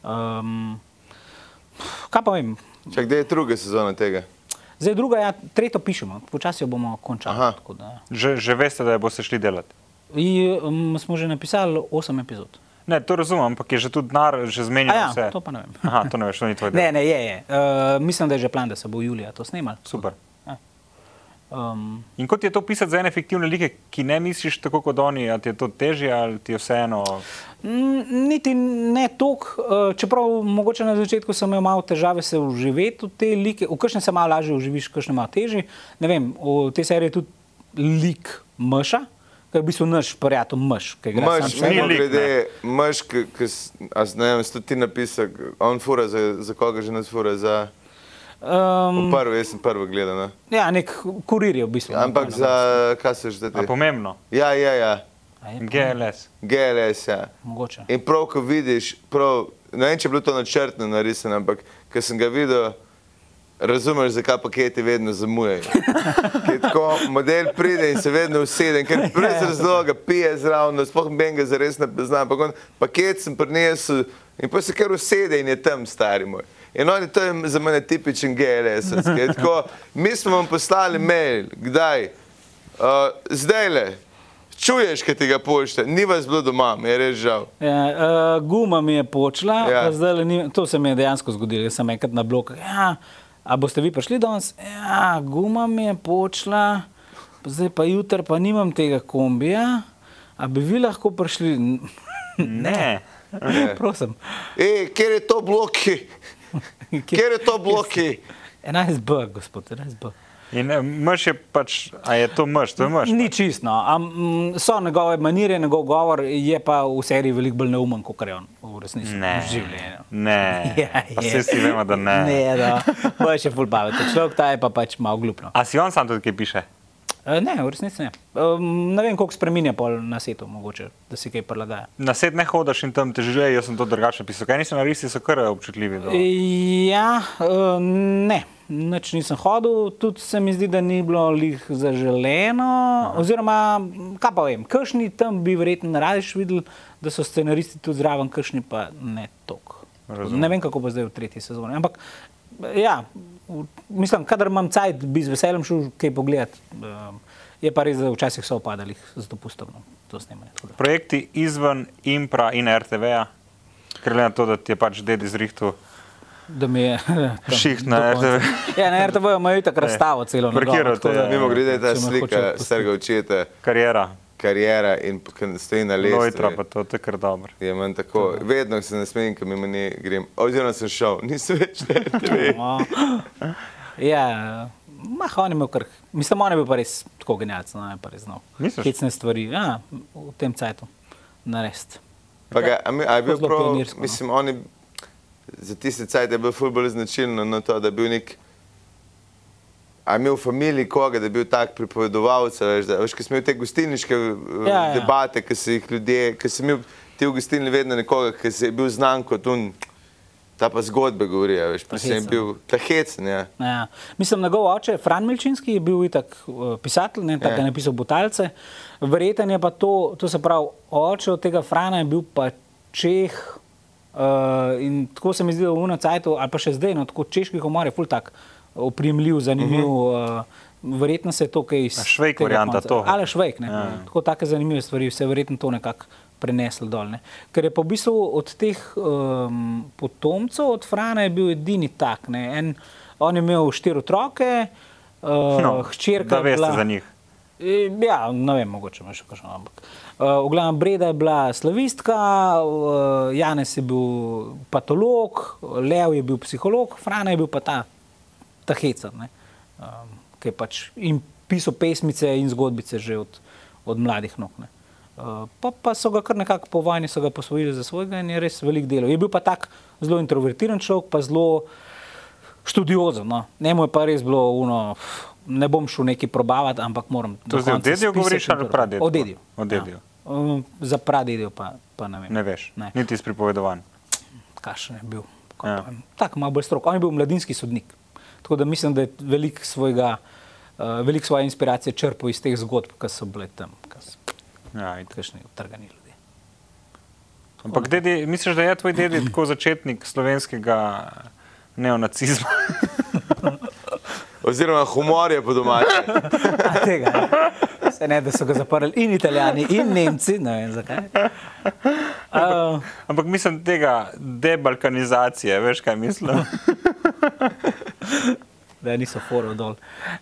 [SPEAKER 2] Um, kaj pa vem,
[SPEAKER 1] Čak, kde je druga sezona tega?
[SPEAKER 2] zdaj druga, ja, tretjo pišemo, počasi jo bomo
[SPEAKER 1] Aha.
[SPEAKER 2] končali. tako Da,
[SPEAKER 3] Že, že veste, da jo boste šli delati.
[SPEAKER 2] I, um, smo že napisali 8 epizod.
[SPEAKER 3] Ne, to razumem, ampak je že tudi denar, že zmenjeno
[SPEAKER 2] A ja,
[SPEAKER 3] vse.
[SPEAKER 2] to pa ne vem.
[SPEAKER 3] Aha, to ne veš, to ni tvoj del.
[SPEAKER 2] Ne, ne, je. je. Uh, mislim, da je že plan, da se bo julija to snimal.
[SPEAKER 3] Super.
[SPEAKER 2] Um,
[SPEAKER 3] In kot je to pisati za ene fiktivne like, ki ne misliš tako kot oni, ali ti je to težje, ali ti je vseeno.
[SPEAKER 2] Mm, Niti ne toliko, eh, čeprav mogoče na začetku sem imel malo težave se vživeti v te like, v kakšne se malo lažje vživiš, v kakšne malo težje. Ne vem, v tej seriji je tudi lik mrša, ki je v bistvu naš prijatelj mrš, ki ga
[SPEAKER 1] Mrš,
[SPEAKER 3] sebe.
[SPEAKER 1] mimo
[SPEAKER 3] Ni
[SPEAKER 2] E,
[SPEAKER 3] lik,
[SPEAKER 1] grede, mrš, ki, ki s- a z- ne vem, sto ti napisal, k- on fura za, za koga že nas fura, za
[SPEAKER 2] Um,
[SPEAKER 1] mm. prvi, jaz sem prvi gledal. No.
[SPEAKER 2] ja, nek kurir je v bistvu. no,
[SPEAKER 1] Ampak za, kaj se
[SPEAKER 3] A
[SPEAKER 1] že te?
[SPEAKER 3] pomembno.
[SPEAKER 1] Ja, ja, ja,
[SPEAKER 2] A je,
[SPEAKER 3] GLS.
[SPEAKER 1] GLS, ja.
[SPEAKER 2] mogoče.
[SPEAKER 1] In prav, ko vidiš, prav, ne vem, če je bilo to načrtno narisano, ampak ko sem ga videl, razumeš, zakaj paketi vedno zamujajo. Ker Tako, model pride in se vedno usede, in ker brez razloga pije zraven, sploh ben ga zares ne poznam. Ampak on, paket sem prinesel in pa se kar usede in je tam stari moj. In on je to je za mene tipičen GLS. Tako, mi smo vam poslali mail, kdaj? Uh, zdaj le, čuješ, kaj ti ga pošte, ni vas bilo doma, mi je res žal.
[SPEAKER 2] Ja, uh, guma mi je počela,
[SPEAKER 1] Ja.
[SPEAKER 2] ja. zdaj ni, to se mi je dejansko zgodilo. Jaz sem enkrat na bloku. Ja, a boste vi prišli danes? Ja, guma mi je počela, zdaj pa jutr pa nimam tega kombija. A bi vi lahko prišli? N-
[SPEAKER 3] Ne.
[SPEAKER 2] Prosim.
[SPEAKER 1] E, kjer je to bloki? Kjer je to bloki?
[SPEAKER 2] 11B, gospod, 11B.
[SPEAKER 3] In eh, mrš je pač, a je to mrš, to je mrš.
[SPEAKER 2] Ni čisto, am, so njegove manire, njegov govor je pa v seriji veliko bolj neumen, kot je on v resnici
[SPEAKER 3] Ne.
[SPEAKER 2] v življenju.
[SPEAKER 3] Ne.
[SPEAKER 2] Ja,
[SPEAKER 3] Pa
[SPEAKER 2] je.
[SPEAKER 3] vsi si vemo, da ne.
[SPEAKER 2] Ne, da. Bo je še full pameten. Človek ta je pa pač malo glupno.
[SPEAKER 3] A si on sam tudi kaj piše?
[SPEAKER 2] E, ne, v resnici ne. Um, ne vem, koliko spreminja pol na setu, mogoče, da si kaj prilagaja.
[SPEAKER 3] Na sed ne hodiš in tam težuje, jaz sem to drugače pisal. Kaj nisi naristi, so kar občutljivi. Do...
[SPEAKER 2] Ja, e, ne. Nič nisem hodil, tudi se mi zdi, da ni bilo lih zaželeno. Aha. Oziroma, kaj pa vem, kršni tam bi verjetno radiš videl, da so scenaristi tudi zraven, kršni pa ne tok.
[SPEAKER 3] Razumem.
[SPEAKER 2] Ne vem, kako bo zdaj v tretji sezoni. Ampak ja, v- mislim, kadar imam cajt, bi z veseljem šel kaj pogledat. Em, Je pa res, da včasih so opadali z dopustom. no, To snemanje. Tako da.
[SPEAKER 3] Projekti izven Impra in RTV-ja, ker glede na to, da ti je pač dedi zrihtu.
[SPEAKER 2] Da mi je tam
[SPEAKER 3] Šiht na
[SPEAKER 2] do konca.
[SPEAKER 3] RTV.
[SPEAKER 2] Ja, na RTV imajo itak razstavo celo. na
[SPEAKER 3] Parkirajo
[SPEAKER 2] domu, tako
[SPEAKER 3] te,
[SPEAKER 2] da,
[SPEAKER 3] ja.
[SPEAKER 1] Mimo grede
[SPEAKER 2] če
[SPEAKER 1] ta
[SPEAKER 2] me
[SPEAKER 1] slika
[SPEAKER 2] hočejo pustiti.
[SPEAKER 1] starega očeta,
[SPEAKER 3] Karijera,
[SPEAKER 1] karijera in p- ko stoji na
[SPEAKER 3] Lojtra,
[SPEAKER 1] lestvi.
[SPEAKER 3] pa to, to je kar dobro.
[SPEAKER 1] Je meni tako, vedno se nasmejim, ko mimo nje grem. Oziroma sem šel, nisem več na RTV.
[SPEAKER 2] No. Ja, mah, on je imel kar, mislim, on je bil pa res tako genialc, no, je pa res znal.
[SPEAKER 3] Misliš?
[SPEAKER 2] Hecne stvari, ja, v tem cajtu, narest.
[SPEAKER 1] Pa ga, a, mi- a je bil
[SPEAKER 2] Zelo
[SPEAKER 1] prav,
[SPEAKER 2] pionirsko, no.
[SPEAKER 1] mislim, on je, za tiste cajt je bil fulbol značilno na to, da je bil nek, a je imel v familiji koga, da je bil tak pripovedovalca, veš, da, veš, ko smo imeli te gostilniške
[SPEAKER 2] Ja,
[SPEAKER 1] ja,
[SPEAKER 2] ja.
[SPEAKER 1] debate, ko si jih ljudje, ko si imel ti v gostilni vedno nekoga, ki si je bil znan kot un, ta pa zgodbe govori, a veš, pa se je
[SPEAKER 2] hecen.
[SPEAKER 1] bil, ta hecen, ja.
[SPEAKER 2] Ja. Mislim, njegov oče, Fran Milčinski, je bil itak eh, pisatelj, ne, tako
[SPEAKER 1] Ja.
[SPEAKER 2] je napisal Butalce. Verjeten je pa to, to se pravi, oče od tega Frana je bil pa Čeh. Uh, in tako se mi zdi, da v Unacajtu, ali pa še zdaj, no, tako češki humor je ful tak oprijemljiv, zanimiv. Uh -huh. uh, verjetno se je to kaj iz.
[SPEAKER 3] Mhm. A Švejk
[SPEAKER 2] tega
[SPEAKER 3] varianta,
[SPEAKER 2] konca-
[SPEAKER 3] to.
[SPEAKER 2] Ali švejk, ne.
[SPEAKER 3] Ja.
[SPEAKER 2] Ja. Tako take zanimive stvari se je verjetno to nekako preneslo dol. Ne. Ker je pa v bistvu od teh um, potomcev, od Frana je bil edini tak. Ne. En, on je imel štiri otroke, uh, no, hčerka.
[SPEAKER 3] da
[SPEAKER 2] je
[SPEAKER 3] veste
[SPEAKER 2] bila,
[SPEAKER 3] za njih.
[SPEAKER 2] E, Ja, ne vem, mogoče imaš še kakšno. Ampak. Uh, v glavnem, Breda je bila slavistka, uh, Janes je bil patolog, Lev je bil psiholog, Frana je bil pa ta, ta hecer, ne, um, ki je pač in pisal pesmice in zgodbice že od, od mladih nog. ne. Uh, pa, pa so ga kar nekako po vojni so ga posvojili za svojega in je res velik delo. Je bil pa tak zelo introvertiran človek, pa zelo študiozen. No. Njemu je pa res bilo uno, "Pf, ne bom šel neki probavati, ampak moram. do
[SPEAKER 3] To zdaj o
[SPEAKER 2] konca
[SPEAKER 3] dedju
[SPEAKER 2] spisati
[SPEAKER 3] govoriš
[SPEAKER 2] in
[SPEAKER 3] ali
[SPEAKER 2] to-
[SPEAKER 3] pradedku?
[SPEAKER 2] O dedju.
[SPEAKER 3] O dedju.
[SPEAKER 2] Ja. Um, Za pradedju pa, pa ne vem.
[SPEAKER 3] Ne veš,
[SPEAKER 2] Ne.
[SPEAKER 3] niti iz pripovedovanj.
[SPEAKER 2] Kakšen je bil. sodnik.
[SPEAKER 3] Ja.
[SPEAKER 2] Ja. Tako malo bolj strok. On je bil mladinski sodnik. Tako da mislim, da je veliko svojega, uh, velik svoje inspiracije črpal iz teh zgodb, ki so bile tam, ki so
[SPEAKER 3] Ja, itak.
[SPEAKER 2] kakšni utrgani ljudje.
[SPEAKER 3] Ampak dedi, misliš, da je tvoj dedi tako začetnik slovenskega neonacizma?
[SPEAKER 1] Oziroma, humor je po domače.
[SPEAKER 2] A, tega, ne. Se ne, da so ga zaprli in Italijani, in Nemci, ne vem zakaj. Uh,
[SPEAKER 3] Ampak mislim tega debalkanizacije, veš kaj mislim?
[SPEAKER 2] da niso forov dol.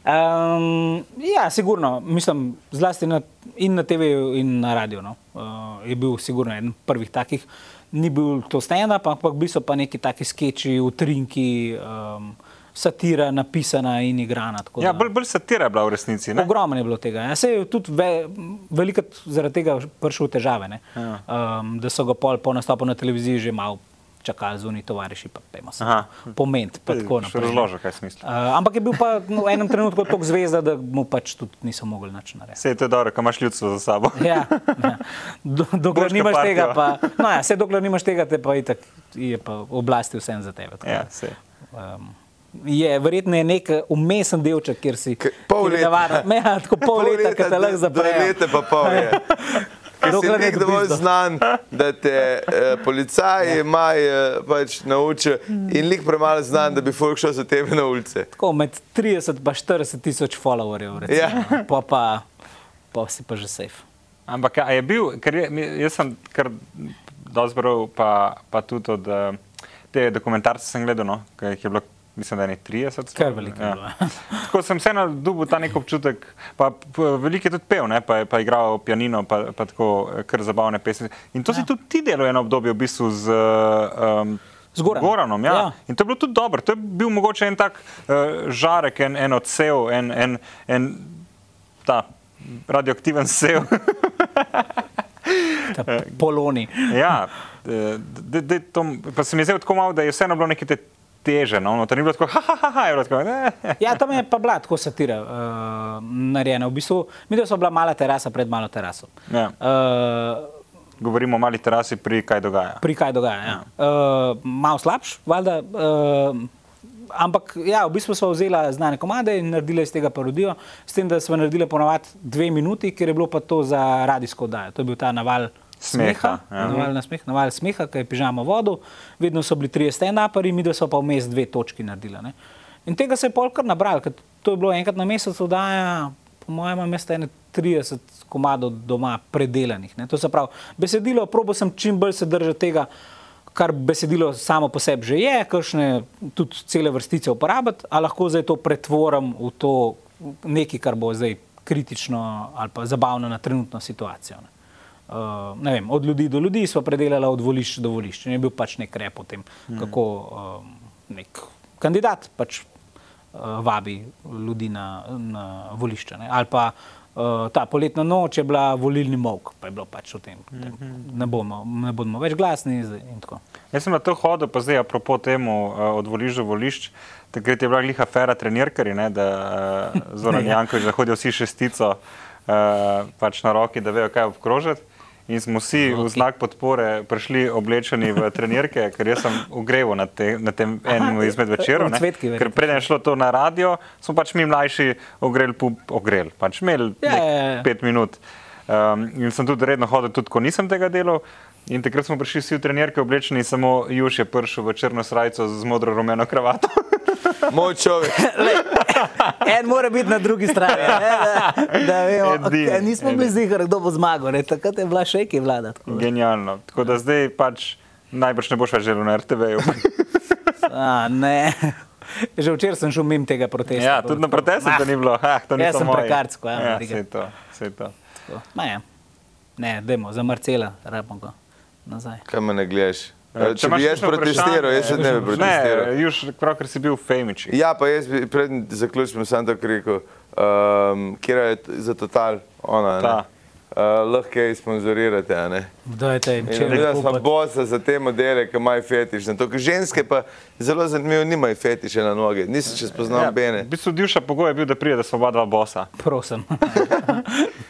[SPEAKER 2] Um, ja, sigurno, mislim, zlasti na, in na TV-ju, in na radiju. No. Uh, je bil sigurno eden prvih takih. Ni bil to stand-up, ampak bili so pa neki taki sketchi, utrinki, um, satira napisana in igrana. tako
[SPEAKER 3] Ja,
[SPEAKER 2] da-
[SPEAKER 3] bolj, bolj satira je bila v resnici. Ne?
[SPEAKER 2] Ogromno je bilo tega. Ja, se je tudi ve, veliko zaradi tega prišel v težave.
[SPEAKER 3] Ja.
[SPEAKER 2] Ja. Um, da so ga pol po nastopu na televiziji že malo čakali zunaj tovariši, pa pojmo se.
[SPEAKER 3] Aha.
[SPEAKER 2] Pomen, pa tako
[SPEAKER 3] Še
[SPEAKER 2] naprej.
[SPEAKER 3] razložil, kaj sem mislil.
[SPEAKER 2] Uh, ampak je bil pa no, v enem trenutku tako zvezda, da mu pač tudi niso mogli nič narediti.
[SPEAKER 3] Sej to je dobro, ko imaš ljudstvo za sabo.
[SPEAKER 2] Ja, ja. Do, dokler
[SPEAKER 3] Boška
[SPEAKER 2] nimaš
[SPEAKER 3] partijo.
[SPEAKER 2] tega, pa, no ja, vse dokler nimaš tega, te pa itak je pa oblasti vsem za tebe. tako da,
[SPEAKER 3] Ja, sej.
[SPEAKER 2] Um, je verjetno je nek umesen delček, kjer si
[SPEAKER 1] K- pol
[SPEAKER 2] kjer je
[SPEAKER 1] leta.
[SPEAKER 2] nevarno. Ja, tako pol leta, ki te
[SPEAKER 1] do-
[SPEAKER 2] lahko
[SPEAKER 1] Do
[SPEAKER 2] zaprejo.
[SPEAKER 1] leta pa pol ja. je. Ker si
[SPEAKER 2] Dokler ne
[SPEAKER 1] nek
[SPEAKER 2] dobiš
[SPEAKER 1] dovolj
[SPEAKER 2] do- Ja.
[SPEAKER 1] znan, da te eh, policaji maj eh, pač naučijo in lik premalo znan, da bi folk šel za tebe na ulice.
[SPEAKER 2] Tako med 30 pa 40 tisoč followerjev, recimo.
[SPEAKER 1] Ja.
[SPEAKER 2] Ja. Pa, pa, pa si pa že safe.
[SPEAKER 3] Ampak a je bil, ker je, mi- jaz sem kar dozbral, pa, pa tudi od eh, te dokumentarce sem gledal, no, ki jih je bilo, mislim, da ne 30.
[SPEAKER 2] Kar veliko je bilo.
[SPEAKER 3] Ja.
[SPEAKER 2] ja.
[SPEAKER 3] Tako sem vseeno dobil ta nek občutek, pa p- veliko je tudi pel, ne, pa, je- pa je igral pianino, pa, pa tako eh, kar zabavne pesmi. In to ja. si tudi ti delal eno obdobje v bistvu z... eh, Um,
[SPEAKER 2] Z Goranom.
[SPEAKER 3] Goranom ja.
[SPEAKER 2] Ja.
[SPEAKER 3] Ja. In to je bilo tudi dobro. To je bil mogoče en tak uh, žarek, en, en odsev, en, en, en ta radioaktiven sev.
[SPEAKER 2] Ta poloni.
[SPEAKER 3] ja, eh, de, de, to, pa se mi je zdelo tako malo, da je vseeno bilo nekaj te teže. No, to ni bilo tako, ha, ha, ha, ha, je bilo tako. Ne.
[SPEAKER 2] Ja, tam je pa bila tako satira uh, narejena. V bistvu, mi da so bila mala terasa pred malo teraso.
[SPEAKER 3] Ja.
[SPEAKER 2] Uh,
[SPEAKER 3] Govorimo o mali terasi pri kaj dogaja.
[SPEAKER 2] pri kaj dogaja. Ja. Uh, Malo slabš, valjda. Uh, ampak ja, v bistvu smo vzeli znane komade in naredili iz tega parodijo, s tem, da smo naredili ponovadi dve minuti, ker je bilo pa to za radijsko oddajo. To je bil ta naval.
[SPEAKER 3] Smeha,
[SPEAKER 2] Smeha,
[SPEAKER 3] ja.
[SPEAKER 2] naval, na smeh, naval smeha, ki je pižama vodo, vedno so bili trije stand-uperi, mi da so pa vmes dve točki naredili. Ne? In tega se je pol kar nabral, ker to je bilo enkrat na mesec oddaja, po mojem, mesta ene 30 komadov doma predelanih. Ne? To se pravi, besedilo, probo sem čim bolj se držati tega, kar besedilo samo po sebi že je, kakšne tudi cele vrstice uporabiti, a lahko zdaj to pretvorim v to nekaj, kar bo zdaj kritično ali pa zabavno na trenutno situacijo. Ne? Uh, ne vem, od ljudi do ljudi smo predelali od volišč do volišč. In je bil pač nek rep o tem, mm. kako um, nek kandidat pač uh, vabi ljudi na, na volišča. Ne? Ali pa uh, ta poletna noč je bila volilni mok, pa je bilo pač o tem, mm -hmm. ne, bomo, ne bomo več glasni zdaj in tako.
[SPEAKER 3] Jaz sem na to hodil, pa zdaj apropo temu eh, od volišč do volišč. Takrat je bila glih afera trenirkari, ne, da eh, Zoran
[SPEAKER 2] Ja.
[SPEAKER 3] Janković zahodijo vsi šestico eh, pač na roki, da vejo, kaj obkrožiti. In smo vsi v znak podpore prišli oblečeni v trenirke, ker jaz sem ogreval na, te, na tem enem izmed večerov.
[SPEAKER 2] v
[SPEAKER 3] ne.
[SPEAKER 2] cvetki
[SPEAKER 3] Ker
[SPEAKER 2] verjetno.
[SPEAKER 3] preden je šlo to na radio, smo pač mi mlajši ogrel, pup, ogrel. Pač imeli
[SPEAKER 2] Ja,
[SPEAKER 3] nek
[SPEAKER 2] ja, ja.
[SPEAKER 3] pet minut. Um, in sem tudi redno hodil, tudi ko nisem tega delal. In takrat smo prišli vsi v trenerke oblečeni, samo Juž je prišel v črno srajco z modro-rumeno kravato.
[SPEAKER 1] Moj človek.
[SPEAKER 2] En mora biti na drugi strani, ne, da, da vemo,
[SPEAKER 3] Edini,
[SPEAKER 2] okay, nismo bili
[SPEAKER 3] edini.
[SPEAKER 2] zihar, kdo bo zmagal. ne, Takrat je bila še nekaj vlada. tako da.
[SPEAKER 3] Genialno. Tako da zdaj pač najbrž ne boš več delal na RTV-ju.
[SPEAKER 2] A, ne. Že včeraj sem šel mimo tega protesta.
[SPEAKER 3] ja, tudi na protestu to ni bilo. Ah, to
[SPEAKER 2] Jaz
[SPEAKER 3] niso
[SPEAKER 2] sem
[SPEAKER 3] moji.
[SPEAKER 2] prekarsko, ja,
[SPEAKER 3] ja.
[SPEAKER 2] Marika.
[SPEAKER 3] Vse to, vse to.
[SPEAKER 2] Tako, ma ja. Ne, dajmo, za Marcela, rabimo ga nazaj.
[SPEAKER 1] Kaj me ne gledaš?
[SPEAKER 3] Eh,
[SPEAKER 1] Če, E, če bi
[SPEAKER 3] imaš
[SPEAKER 1] jaz
[SPEAKER 3] kakšno
[SPEAKER 1] protestiral, jaz
[SPEAKER 3] vprašanje-
[SPEAKER 1] tudi ne bi protestiral.
[SPEAKER 3] Ne, eh. Juž, prav, ker si bil v Femiči.
[SPEAKER 1] Ja, pa jaz bi pred ehm, zaključkom samo to rekel, um, kje je t- za total ona. ne?
[SPEAKER 3] Ta.
[SPEAKER 1] uh, lahko jih sponzorirate. a ne.
[SPEAKER 2] Dajte jim, če
[SPEAKER 1] In
[SPEAKER 2] ne
[SPEAKER 1] Videla sva
[SPEAKER 2] kupite.
[SPEAKER 1] bosa za te modele, ki imajo fetiš. Na to, ker ženske pa zelo zanimivo nimajo fetiše na noge, nisem še spoznal ja, bene.
[SPEAKER 3] v bistvu divša pogoj je bil, da pride, da so oba dva bosa.
[SPEAKER 2] Prosim.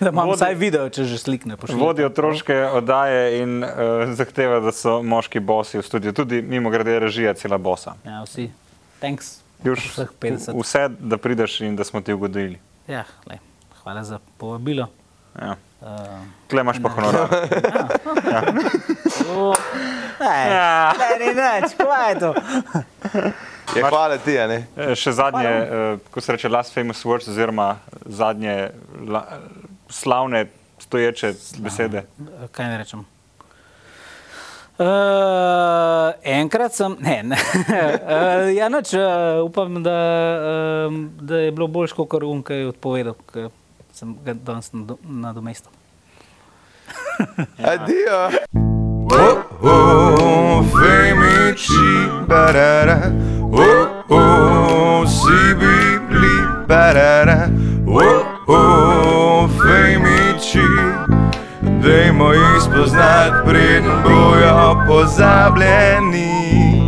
[SPEAKER 2] da imam
[SPEAKER 3] Vodi-
[SPEAKER 2] vsaj video, če že slikne.
[SPEAKER 3] Vodi otroške oddaje in uh, zahteva, da so moški bosi v studiu. Tudi mimo grede režija cela bosa.
[SPEAKER 2] Ja, vsi. Thanks.
[SPEAKER 3] Juž,
[SPEAKER 2] vseh 50.
[SPEAKER 3] v- Vse, da prideš in da smo ti ugodili.
[SPEAKER 2] Ja, le, hvala za povabilo.
[SPEAKER 3] Ja.
[SPEAKER 2] Uh,
[SPEAKER 3] Tle imaš pa honorar.
[SPEAKER 2] ne,
[SPEAKER 3] Ja.
[SPEAKER 2] ne, ni nič, kaj je to?
[SPEAKER 1] Je, Ja, hvala ti, a ne.
[SPEAKER 3] E, Še zadnje, eh, ko se reče Last Famous Words, oziroma zadnje la, slavne stoječe Slavne. besede.
[SPEAKER 2] Kaj ne rečem? Uh, enkrat sem, ne, ne. uh, ja, noč, uh, upam, da, um, da je bilo boljše, kot um, kaj je odpovedal, ker sem ga danes nado- nadomestil.
[SPEAKER 1] Adijo. Oh, oh, femiči, barara. Oh, oh, si bi bili, barara. Oh, oh, femiči. Dajmo jih spoznati, preden bojo pozabljeni.